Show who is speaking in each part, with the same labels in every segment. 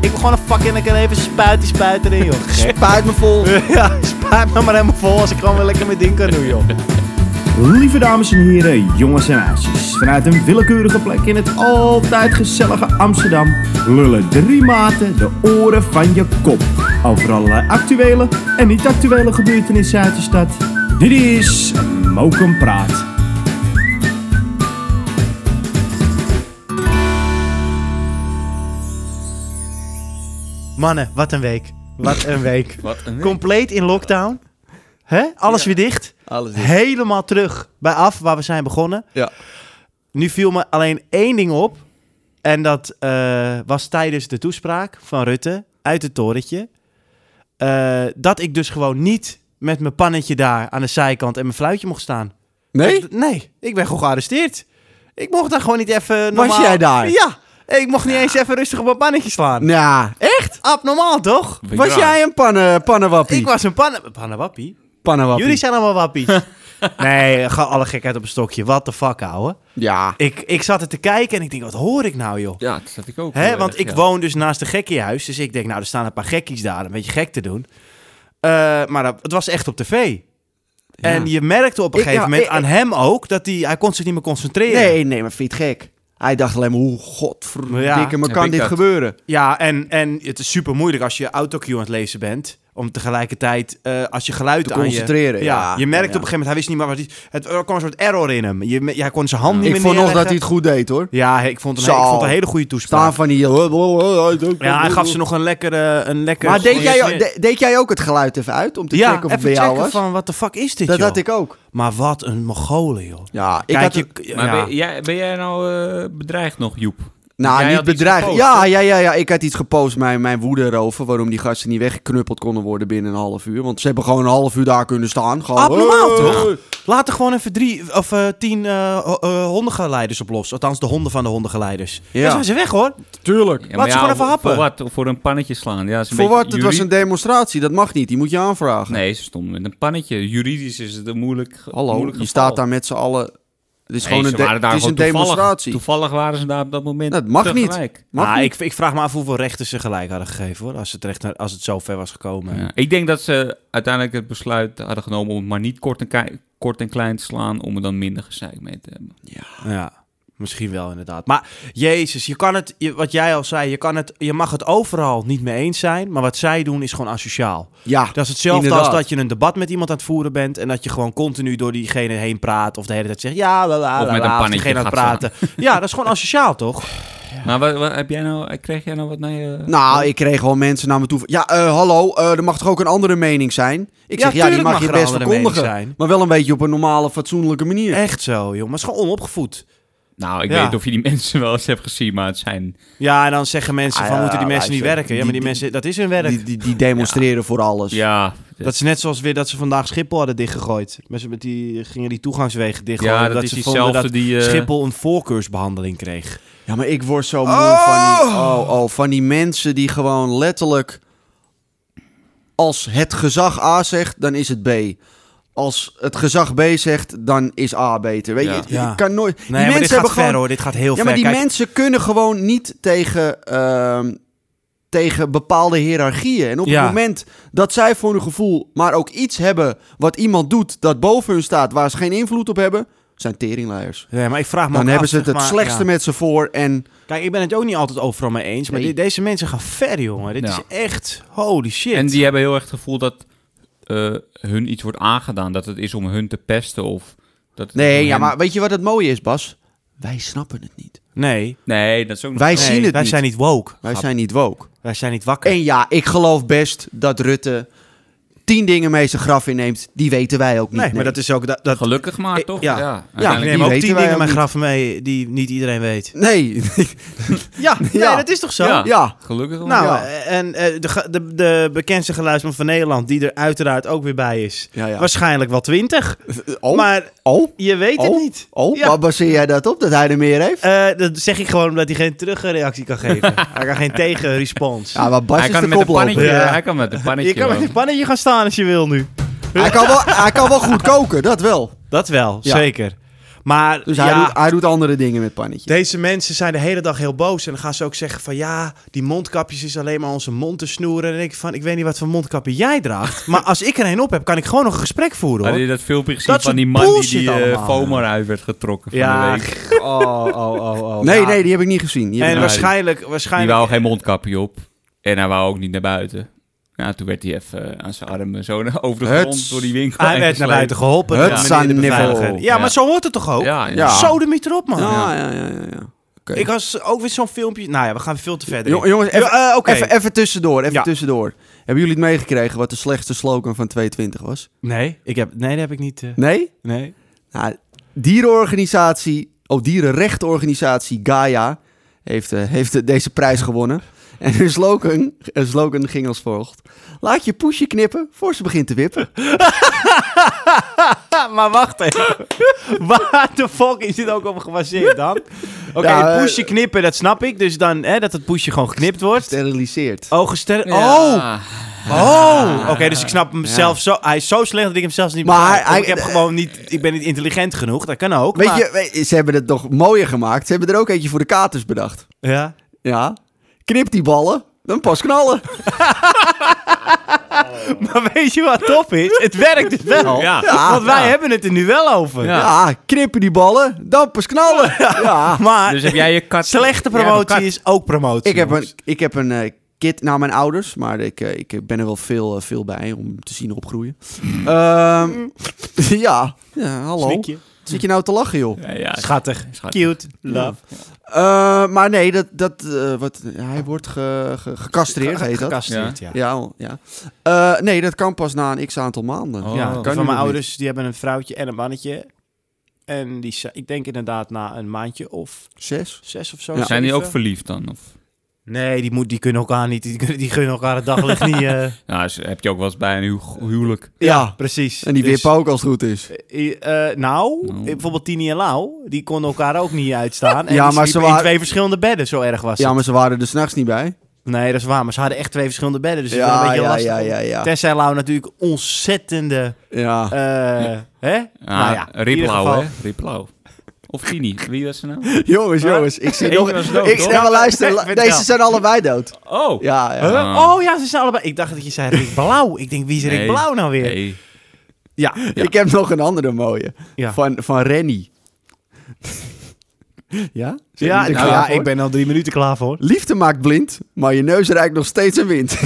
Speaker 1: wil gewoon een vak in. Ik kan even spuit die spuit erin, joh. Gek.
Speaker 2: Spuit me vol.
Speaker 1: Ja, spuit me maar helemaal vol als ik gewoon weer lekker mijn ding kan doen, joh.
Speaker 3: Lieve dames en heren, jongens en meisjes. Vanuit een willekeurige plek in het altijd gezellige Amsterdam lullen drie maten de oren van je kop. Over allerlei actuele en niet-actuele gebeurtenissen uit de stad. Dit is Mokum Praat.
Speaker 1: Mannen, wat een week. Wat een week.
Speaker 2: Wat een
Speaker 1: Compleet in lockdown. Hè? Alles weer dicht.
Speaker 2: Alles is.
Speaker 1: Helemaal terug bij af waar we zijn begonnen.
Speaker 2: Ja.
Speaker 1: Nu viel me alleen één ding op. En dat eh, was tijdens de toespraak van Rutte uit het torentje. Eh, dat ik dus gewoon niet met mijn pannetje daar aan de zijkant en mijn fluitje mocht staan.
Speaker 2: Nee?
Speaker 1: Dat- Nee, ik ben gewoon gearresteerd. Ik mocht daar gewoon niet even
Speaker 2: Was
Speaker 1: normaal...
Speaker 2: jij daar?
Speaker 1: Ja. Ik mocht niet eens even rustig op mijn pannetje slaan.
Speaker 2: Nou,
Speaker 1: Echt? Abnormaal, toch?
Speaker 4: ik
Speaker 2: was
Speaker 4: raar.
Speaker 2: jij een pannen, pannenwappie?
Speaker 1: Ik was een pannen... Pannenwappie?
Speaker 2: Pannenwappie.
Speaker 1: Jullie zijn allemaal wappies. nee, ga alle gekheid op een stokje. What the fuck, ouwe.
Speaker 2: Ja.
Speaker 1: Ik, ik zat er te kijken en ik denk, wat hoor ik nou, joh?
Speaker 4: Ja, dat zat ik ook.
Speaker 1: Hè,
Speaker 4: heel
Speaker 1: want
Speaker 4: erg,
Speaker 1: ik
Speaker 4: ja.
Speaker 1: woon dus naast een gekkenhuis. Dus ik denk, nou, er staan een paar gekkies daar. Een beetje gek te doen. Eh, maar dat- het was echt op tv. En je merkte op een
Speaker 2: Ik-
Speaker 1: gegeven
Speaker 2: ja,
Speaker 1: moment
Speaker 2: ik-
Speaker 1: aan hem ook... dat hij, hij kon zich niet meer concentreren.
Speaker 2: Nee, nee, maar vind je het gek? Hij dacht alleen maar, hoe godverdikke
Speaker 1: Ja.
Speaker 2: me
Speaker 4: Heb
Speaker 2: kan
Speaker 4: ik
Speaker 2: dit
Speaker 4: dat?
Speaker 2: gebeuren?
Speaker 1: Ja, en, en het is super moeilijk als je autocue aan het lezen bent. Om tegelijkertijd, eh, als je geluid
Speaker 2: Te
Speaker 1: aan je-
Speaker 2: concentreren, ja.
Speaker 1: Je merkt
Speaker 2: Ja.
Speaker 1: op een gegeven moment, hij wist niet meer wat hij... Het, er kwam een soort error in hem. Je, me- hij kon zijn hand niet
Speaker 2: Ik
Speaker 1: meer
Speaker 2: vond nog dat
Speaker 1: neerleggen.
Speaker 2: hij het goed deed, hoor.
Speaker 1: Ja, ik vond, een,
Speaker 2: Zo.
Speaker 1: ik vond een hele goede toespraak.
Speaker 2: Staan van die... "Oh, Ja,
Speaker 1: Ja, hij gaf ze nog een lekkere... Een lekker
Speaker 2: oh, Maar deed jij,
Speaker 1: Ja,
Speaker 2: de- deed jij ook het geluid even uit om te
Speaker 1: ja,
Speaker 2: checken of
Speaker 1: even
Speaker 2: het bij jou
Speaker 1: checken
Speaker 2: was?
Speaker 1: van, wat de fuck is dit,
Speaker 2: dat
Speaker 1: joh?
Speaker 2: had ik ook.
Speaker 1: Maar wat een mogolen, joh.
Speaker 2: Ja, ik
Speaker 1: Kijk,
Speaker 2: had
Speaker 1: je...
Speaker 2: het-
Speaker 1: ja.
Speaker 4: Maar ben, jij, ben jij nou eh, bedreigd nog, Joep?
Speaker 2: Nou,
Speaker 4: Jij
Speaker 2: niet
Speaker 4: had iets
Speaker 2: bedreigend.
Speaker 4: gepost,
Speaker 2: Ja,
Speaker 4: toch?
Speaker 2: ja, ja, ja, ik had iets gepost, mijn, mijn woede erover, waarom die gasten niet weggeknuppeld konden worden binnen een half uur. Want ze hebben gewoon een half uur daar kunnen staan. Gewoon,
Speaker 1: Abnormaal,
Speaker 2: hey.
Speaker 1: toch? Laat er gewoon even drie of eh, tien eh, ho- eh, hondengeleiders op los. Althans, de honden van de hondengeleiders.
Speaker 2: Ja.
Speaker 1: Ja. Dan zijn ze weg, hoor.
Speaker 2: Tuurlijk.
Speaker 4: Ja,
Speaker 1: Laat
Speaker 4: maar
Speaker 1: ze
Speaker 4: ja,
Speaker 1: gewoon even happen.
Speaker 4: Voor wat? Voor een pannetje slaan. Ja, is een
Speaker 2: Voor
Speaker 4: beetje
Speaker 2: wat? Het was
Speaker 4: juri-
Speaker 2: een demonstratie, dat mag niet, die moet je aanvragen.
Speaker 4: Nee, ze stonden met een pannetje. Juridisch is het een moeilijk ge-
Speaker 2: Hallo,
Speaker 4: moeilijk geval.
Speaker 2: je staat daar met z'n allen. Het is
Speaker 4: Nee,
Speaker 2: gewoon
Speaker 4: ze
Speaker 2: een, de-
Speaker 4: waren daar
Speaker 2: het is een
Speaker 4: gewoon toevallig-
Speaker 2: demonstratie.
Speaker 4: Toevallig waren ze daar op dat moment
Speaker 2: Dat mag niet.
Speaker 4: tegelijk.
Speaker 2: Mag
Speaker 1: Maar
Speaker 2: niet.
Speaker 1: Ah, ik, ik vraag me af hoeveel rechten ze gelijk hadden gegeven hoor. Als het, recht naar, als het zo ver was gekomen.
Speaker 4: Nou Ja, ik denk dat ze uiteindelijk het besluit hadden genomen om het maar niet kort en, kei- kort en klein te slaan, om er dan minder gezeik mee te hebben.
Speaker 1: Ja, misschien wel inderdaad. Maar Jezus, je kan het, je- wat jij al zei, je, kan het, je mag het overal niet mee eens zijn. Maar wat zij doen is gewoon asociaal.
Speaker 2: Ja,
Speaker 1: Dat is hetzelfde
Speaker 2: Inderdaad.
Speaker 1: als dat je een debat met iemand aan het voeren bent. En dat je gewoon continu door diegene heen praat. Of de hele tijd zegt ja, la la
Speaker 4: Of
Speaker 1: la,
Speaker 4: met een
Speaker 1: la. Of
Speaker 4: pannetje
Speaker 1: diegene aan het
Speaker 4: gaat
Speaker 1: praten. Ja, dat is gewoon asociaal toch?
Speaker 4: Maar wat, wat heb jij nou, kreeg jij nou wat naar je...
Speaker 2: Nou, ik kreeg wel mensen naar me toe. van, Ja, eh, hallo, eh, er mag toch ook een andere mening zijn? Ik
Speaker 1: Ja,
Speaker 2: zeg, ja, die
Speaker 1: tuurlijk
Speaker 2: mag,
Speaker 1: mag
Speaker 2: je
Speaker 1: er
Speaker 2: best
Speaker 1: andere mening
Speaker 2: verkondigen.
Speaker 1: zijn.
Speaker 2: Maar wel een beetje op een normale, fatsoenlijke manier.
Speaker 1: Echt zo, joh. Maar het is gewoon onopgevoed.
Speaker 4: Nou, ik
Speaker 1: Ja.
Speaker 4: weet niet of je die mensen wel eens hebt gezien, maar het zijn...
Speaker 1: Ja, en dan zeggen mensen
Speaker 2: Ah,
Speaker 1: van
Speaker 2: ja,
Speaker 1: moeten die mensen niet
Speaker 2: luister,
Speaker 1: werken. Ja,
Speaker 2: die-
Speaker 1: maar die
Speaker 2: die-
Speaker 1: mensen, dat is hun werk.
Speaker 2: Die, die, die demonstreren voor alles.
Speaker 4: Ja,
Speaker 1: Dat is net zoals weer dat ze vandaag Schiphol hadden dichtgegooid. Mensen met die, gingen die toegangswegen dichtgooien.
Speaker 4: ja dat,
Speaker 1: omdat
Speaker 4: is
Speaker 1: ze vonden
Speaker 4: diezelfde
Speaker 1: dat
Speaker 4: die... eh,
Speaker 1: Schiphol een voorkeursbehandeling kreeg.
Speaker 2: Ja, maar ik word zo moe van, die, oh, oh, van die mensen die gewoon letterlijk... Als het gezag A zegt, dan is het B. Als het gezag B zegt, dan is A beter. Weet
Speaker 4: Ja.
Speaker 2: je, ik-
Speaker 1: Ja.
Speaker 2: ik kan nooit... die
Speaker 1: Nee, maar dit gaat ver hoor. Dit gaat heel
Speaker 2: Ja,
Speaker 1: ver.
Speaker 2: maar die
Speaker 1: Kijk,
Speaker 2: mensen kunnen gewoon niet tegen, ehm, tegen bepaalde hiërarchieën. En op
Speaker 1: Ja.
Speaker 2: het moment dat zij voor hun gevoel, maar ook iets hebben wat iemand doet dat boven hun staat, waar ze geen invloed op hebben, zijn teringleiers.
Speaker 1: Nee, maar ik vraag me
Speaker 2: Dan
Speaker 1: ook
Speaker 2: hebben
Speaker 1: af,
Speaker 2: ze het
Speaker 1: zeg
Speaker 2: het
Speaker 1: maar,
Speaker 2: slechtste
Speaker 1: ja.
Speaker 2: met ze voor. En
Speaker 1: Kijk, ik ben het ook niet altijd overal mee eens. Maar
Speaker 2: Nee.
Speaker 1: die- deze mensen gaan ver, jongen. Dit
Speaker 4: Ja.
Speaker 1: is echt... Holy shit.
Speaker 4: En die hebben heel erg het gevoel dat eh, hun iets wordt aangedaan. Dat het is om hun te pesten of... Dat het is
Speaker 2: nee,
Speaker 4: om
Speaker 2: ja,
Speaker 4: hen-
Speaker 2: maar weet je wat het mooie is, Bas? Wij snappen het niet.
Speaker 1: Nee.
Speaker 4: Nee, dat is ook nog...
Speaker 2: Wij
Speaker 1: Nee,
Speaker 2: zien het
Speaker 1: wij
Speaker 2: niet.
Speaker 1: zijn niet woke.
Speaker 2: Wij
Speaker 1: Grap.
Speaker 2: zijn niet woke.
Speaker 1: Wij zijn niet wakker.
Speaker 2: En ja, ik geloof best dat Rutte tien dingen mee zijn graf inneemt. Die weten wij ook niet.
Speaker 1: nee, maar dat is ook... Dat, dat,
Speaker 4: Gelukkig maar,
Speaker 1: Eh,
Speaker 4: toch?
Speaker 1: ja. ja, ik
Speaker 4: uiteindelijk-
Speaker 1: neem ook
Speaker 2: weten
Speaker 1: tien
Speaker 2: wij
Speaker 1: dingen
Speaker 2: ook
Speaker 1: mijn
Speaker 2: niet.
Speaker 1: graf mee die niet iedereen weet.
Speaker 2: Nee,
Speaker 1: Ja,
Speaker 2: Ja.
Speaker 1: Nee, dat is toch zo?
Speaker 4: Ja.
Speaker 2: ja.
Speaker 4: Gelukkig wel.
Speaker 1: Nou,
Speaker 2: Ja.
Speaker 1: eh, en eh, de, ge- de, de bekendste geluidsman van Nederland, die er uiteraard ook weer bij is.
Speaker 2: ja, ja.
Speaker 1: Waarschijnlijk wel twintig.
Speaker 2: Oh,
Speaker 1: Maar
Speaker 2: oh,
Speaker 1: je weet
Speaker 2: Oh.
Speaker 1: het niet.
Speaker 2: oh.
Speaker 1: Ja.
Speaker 2: Waar baseer jij dat op, dat hij er meer heeft?
Speaker 1: Eh, dat zeg ik gewoon omdat hij geen terugreactie kan geven. hij kan geen tegenrespons.
Speaker 2: Ja, maar Bas
Speaker 4: hij
Speaker 2: is
Speaker 4: kan,
Speaker 2: de
Speaker 4: met een
Speaker 2: koploper.
Speaker 4: pannetje,
Speaker 1: Ja.
Speaker 4: hij kan met een pannetje...
Speaker 1: je kan met
Speaker 4: wel.
Speaker 1: een pannetje gaan staan als je wil nu.
Speaker 2: Hij kan, wel, hij kan wel goed koken, dat wel.
Speaker 1: Dat wel,
Speaker 2: Ja.
Speaker 1: zeker. Maar
Speaker 2: Dus
Speaker 1: ja,
Speaker 2: hij, doet, hij doet andere dingen met pannetje.
Speaker 1: deze mensen zijn de hele dag heel boos. En dan gaan ze ook zeggen van... Ja, die mondkapjes is alleen maar onze mond te snoeren. En dan denk ik van... Ik weet niet wat voor mondkapje jij draagt. maar als ik er een op heb, kan ik gewoon nog een gesprek voeren,
Speaker 4: Had
Speaker 1: hoor.
Speaker 4: je dat filmpje gezien
Speaker 1: Dat
Speaker 4: van
Speaker 1: is
Speaker 4: die man die
Speaker 1: bullshit
Speaker 4: die eh,
Speaker 1: allemaal.
Speaker 4: foam eruit werd getrokken van
Speaker 1: Ja,
Speaker 4: de week?
Speaker 1: Oh, oh, oh, oh.
Speaker 2: nee,
Speaker 1: Ja.
Speaker 2: nee, die heb ik niet gezien. Die heb
Speaker 1: En
Speaker 2: ik-
Speaker 1: waarschijnlijk...
Speaker 4: Die
Speaker 1: waarschijnlijk
Speaker 4: wou geen mondkapje op. En hij wou ook niet naar buiten. Nou, toen werd hij even eh, aan zijn armen zo naar- over de
Speaker 2: Het-
Speaker 4: grond door die winkel
Speaker 1: hij
Speaker 4: heen
Speaker 1: werd naar
Speaker 4: gesleept.
Speaker 1: buiten geholpen.
Speaker 2: Het
Speaker 1: door meneer de
Speaker 2: zijn niveau.
Speaker 1: beveiliger. Ja,
Speaker 4: Ja.
Speaker 1: maar zo hoort het toch ook?
Speaker 4: Ja,
Speaker 2: Ja.
Speaker 4: ja.
Speaker 1: Zo de mieter op, man.
Speaker 2: Ja, Ah, ja, ja, ja. ja. Oké.
Speaker 1: Ik was ook weer zo'n filmpje... Nou ja, we gaan veel te verder.
Speaker 2: Jo- jongens,
Speaker 1: Ja,
Speaker 2: even,
Speaker 1: eh, oké.
Speaker 2: even, even tussendoor, even
Speaker 1: Ja.
Speaker 2: tussendoor. Hebben jullie het meegekregen wat de slechtste slogan van 220 was?
Speaker 1: Nee, ik heb, nee, dat heb ik niet... eh,
Speaker 2: Nee?
Speaker 1: nee.
Speaker 2: Nou, dierenorganisatie, oh, dierenrechtenorganisatie Gaia heeft, eh, heeft eh, deze prijs gewonnen. En hun slogan, hun slogan ging als volgt. Laat je poesje knippen voor ze begint te wippen.
Speaker 1: maar wacht even. Waar de fuck is dit ook op gebaseerd dan? Oké,
Speaker 2: Ja,
Speaker 1: het
Speaker 2: eh,
Speaker 1: poesje knippen, dat snap ik. Dus dan hè, dat het poesje gewoon geknipt wordt.
Speaker 2: Steriliseert.
Speaker 1: Oh, gesteld. Oh,
Speaker 4: Ja.
Speaker 1: oh. Oké, dus ik snap hem zelf zo. Hij is zo slecht dat ik hem zelfs niet.
Speaker 2: Maar
Speaker 1: begrijp.
Speaker 2: hij-
Speaker 1: ik heb gewoon niet. Ik ben niet intelligent genoeg. Dat kan ook.
Speaker 2: Weet
Speaker 1: maar-
Speaker 2: je, weet- ze hebben het nog mooier gemaakt. Ze hebben er ook eentje voor de katers bedacht.
Speaker 1: Ja.
Speaker 2: Ja. Knip die ballen, dan pas knallen.
Speaker 1: Maar weet je wat top is? Het werkt dus wel.
Speaker 4: Ja.
Speaker 1: Want wij
Speaker 4: Ja.
Speaker 1: hebben het er nu wel over.
Speaker 4: Ja.
Speaker 2: Ja, knippen die ballen, dan pas knallen. Ja.
Speaker 1: Maar
Speaker 4: Dus heb jij je
Speaker 1: Ah,
Speaker 4: kat...
Speaker 1: slechte
Speaker 4: jij hebt een kat.
Speaker 1: promotie is ook promotie.
Speaker 2: Ik heb een,
Speaker 1: jongens.
Speaker 2: ik heb een eh, kid naar mijn ouders, maar ik, eh, ik ben er wel veel, eh, veel bij om te zien opgroeien. Ehm, ja. ja, hallo.
Speaker 1: Snikje.
Speaker 2: Zit je nou te lachen, joh?
Speaker 4: Ja, ja,
Speaker 1: Schattig.
Speaker 4: schat.
Speaker 1: Cute. Love.
Speaker 2: Eh, maar nee, dat, dat, eh, wat, hij wordt ge, ge- gecastreerd, heet dat?
Speaker 1: Gecastreerd, ja.
Speaker 2: Ja, wel, ja. Eh, nee, dat kan pas na een x-aantal maanden.
Speaker 4: Oh.
Speaker 1: Ja,
Speaker 4: dat
Speaker 2: kan
Speaker 1: van
Speaker 2: nu
Speaker 1: mijn
Speaker 2: nog
Speaker 1: ouders, die hebben een vrouwtje en een mannetje. En die, zijn- ik denk inderdaad na een maandje of
Speaker 2: Zes.
Speaker 1: zes of zo.
Speaker 2: Ja.
Speaker 4: Zijn die ook
Speaker 1: zeven.
Speaker 4: verliefd dan? Of?
Speaker 1: Nee, die, moet, die kunnen elkaar niet. Die, kunnen- die gunnen elkaar het daglicht niet. eh.
Speaker 4: Nou, is- heb je ook wel eens bij een hu- huwelijk.
Speaker 2: Ja.
Speaker 1: Precies.
Speaker 2: En die
Speaker 1: Dus,
Speaker 2: wippen ook als het goed is.
Speaker 1: eh, eh, nou,
Speaker 4: Nou.
Speaker 1: eh, bijvoorbeeld Tini en Lau, die konden elkaar ook niet uitstaan. En
Speaker 2: Ja,
Speaker 1: die
Speaker 2: maar
Speaker 1: sliepen
Speaker 2: ze waren-
Speaker 1: in twee verschillende bedden, zo erg was
Speaker 2: Ja,
Speaker 1: het.
Speaker 2: maar ze waren er s'nachts niet bij.
Speaker 1: Nee, dat is waar. Maar ze hadden echt twee verschillende bedden, dus het was een
Speaker 2: Ja,
Speaker 1: beetje
Speaker 2: ja,
Speaker 1: lastig.
Speaker 2: ja, ja, ja.
Speaker 1: Tessa en Lau natuurlijk ontzettende...
Speaker 2: Ja.
Speaker 1: eh, hè? nou ja, in ieder
Speaker 4: Riplau,
Speaker 1: geval-
Speaker 4: hè? Riplau. Of Tini. Wie was ze nou?
Speaker 2: Jongens,
Speaker 1: Huh?
Speaker 2: jongens, ik zie
Speaker 4: Eén
Speaker 2: nog...
Speaker 4: was dood,
Speaker 2: ik
Speaker 4: toch?
Speaker 2: snel luisteren,
Speaker 1: Nee,
Speaker 2: la-
Speaker 1: vind ik
Speaker 2: deze
Speaker 1: wel.
Speaker 2: zijn allebei dood.
Speaker 4: Oh!
Speaker 2: Ja, ja.
Speaker 1: Huh?
Speaker 4: Ah.
Speaker 1: Oh ja, ze zijn allebei. Ik dacht dat je zei Rick Blauw. Ik denk, wie is Rick
Speaker 4: Nee.
Speaker 1: Blauw nou weer?
Speaker 4: Nee.
Speaker 1: Ja,
Speaker 4: Ja.
Speaker 2: Ik heb nog een andere mooie.
Speaker 1: Ja.
Speaker 2: Van, van Rennie. ja? Zijn
Speaker 1: ja,
Speaker 2: jullie er
Speaker 1: nou,
Speaker 2: klaar
Speaker 1: ja
Speaker 2: voor?
Speaker 1: ik ben al drie minuten klaar voor.
Speaker 2: Liefde maakt blind, maar je neus ruikt nog steeds een wind.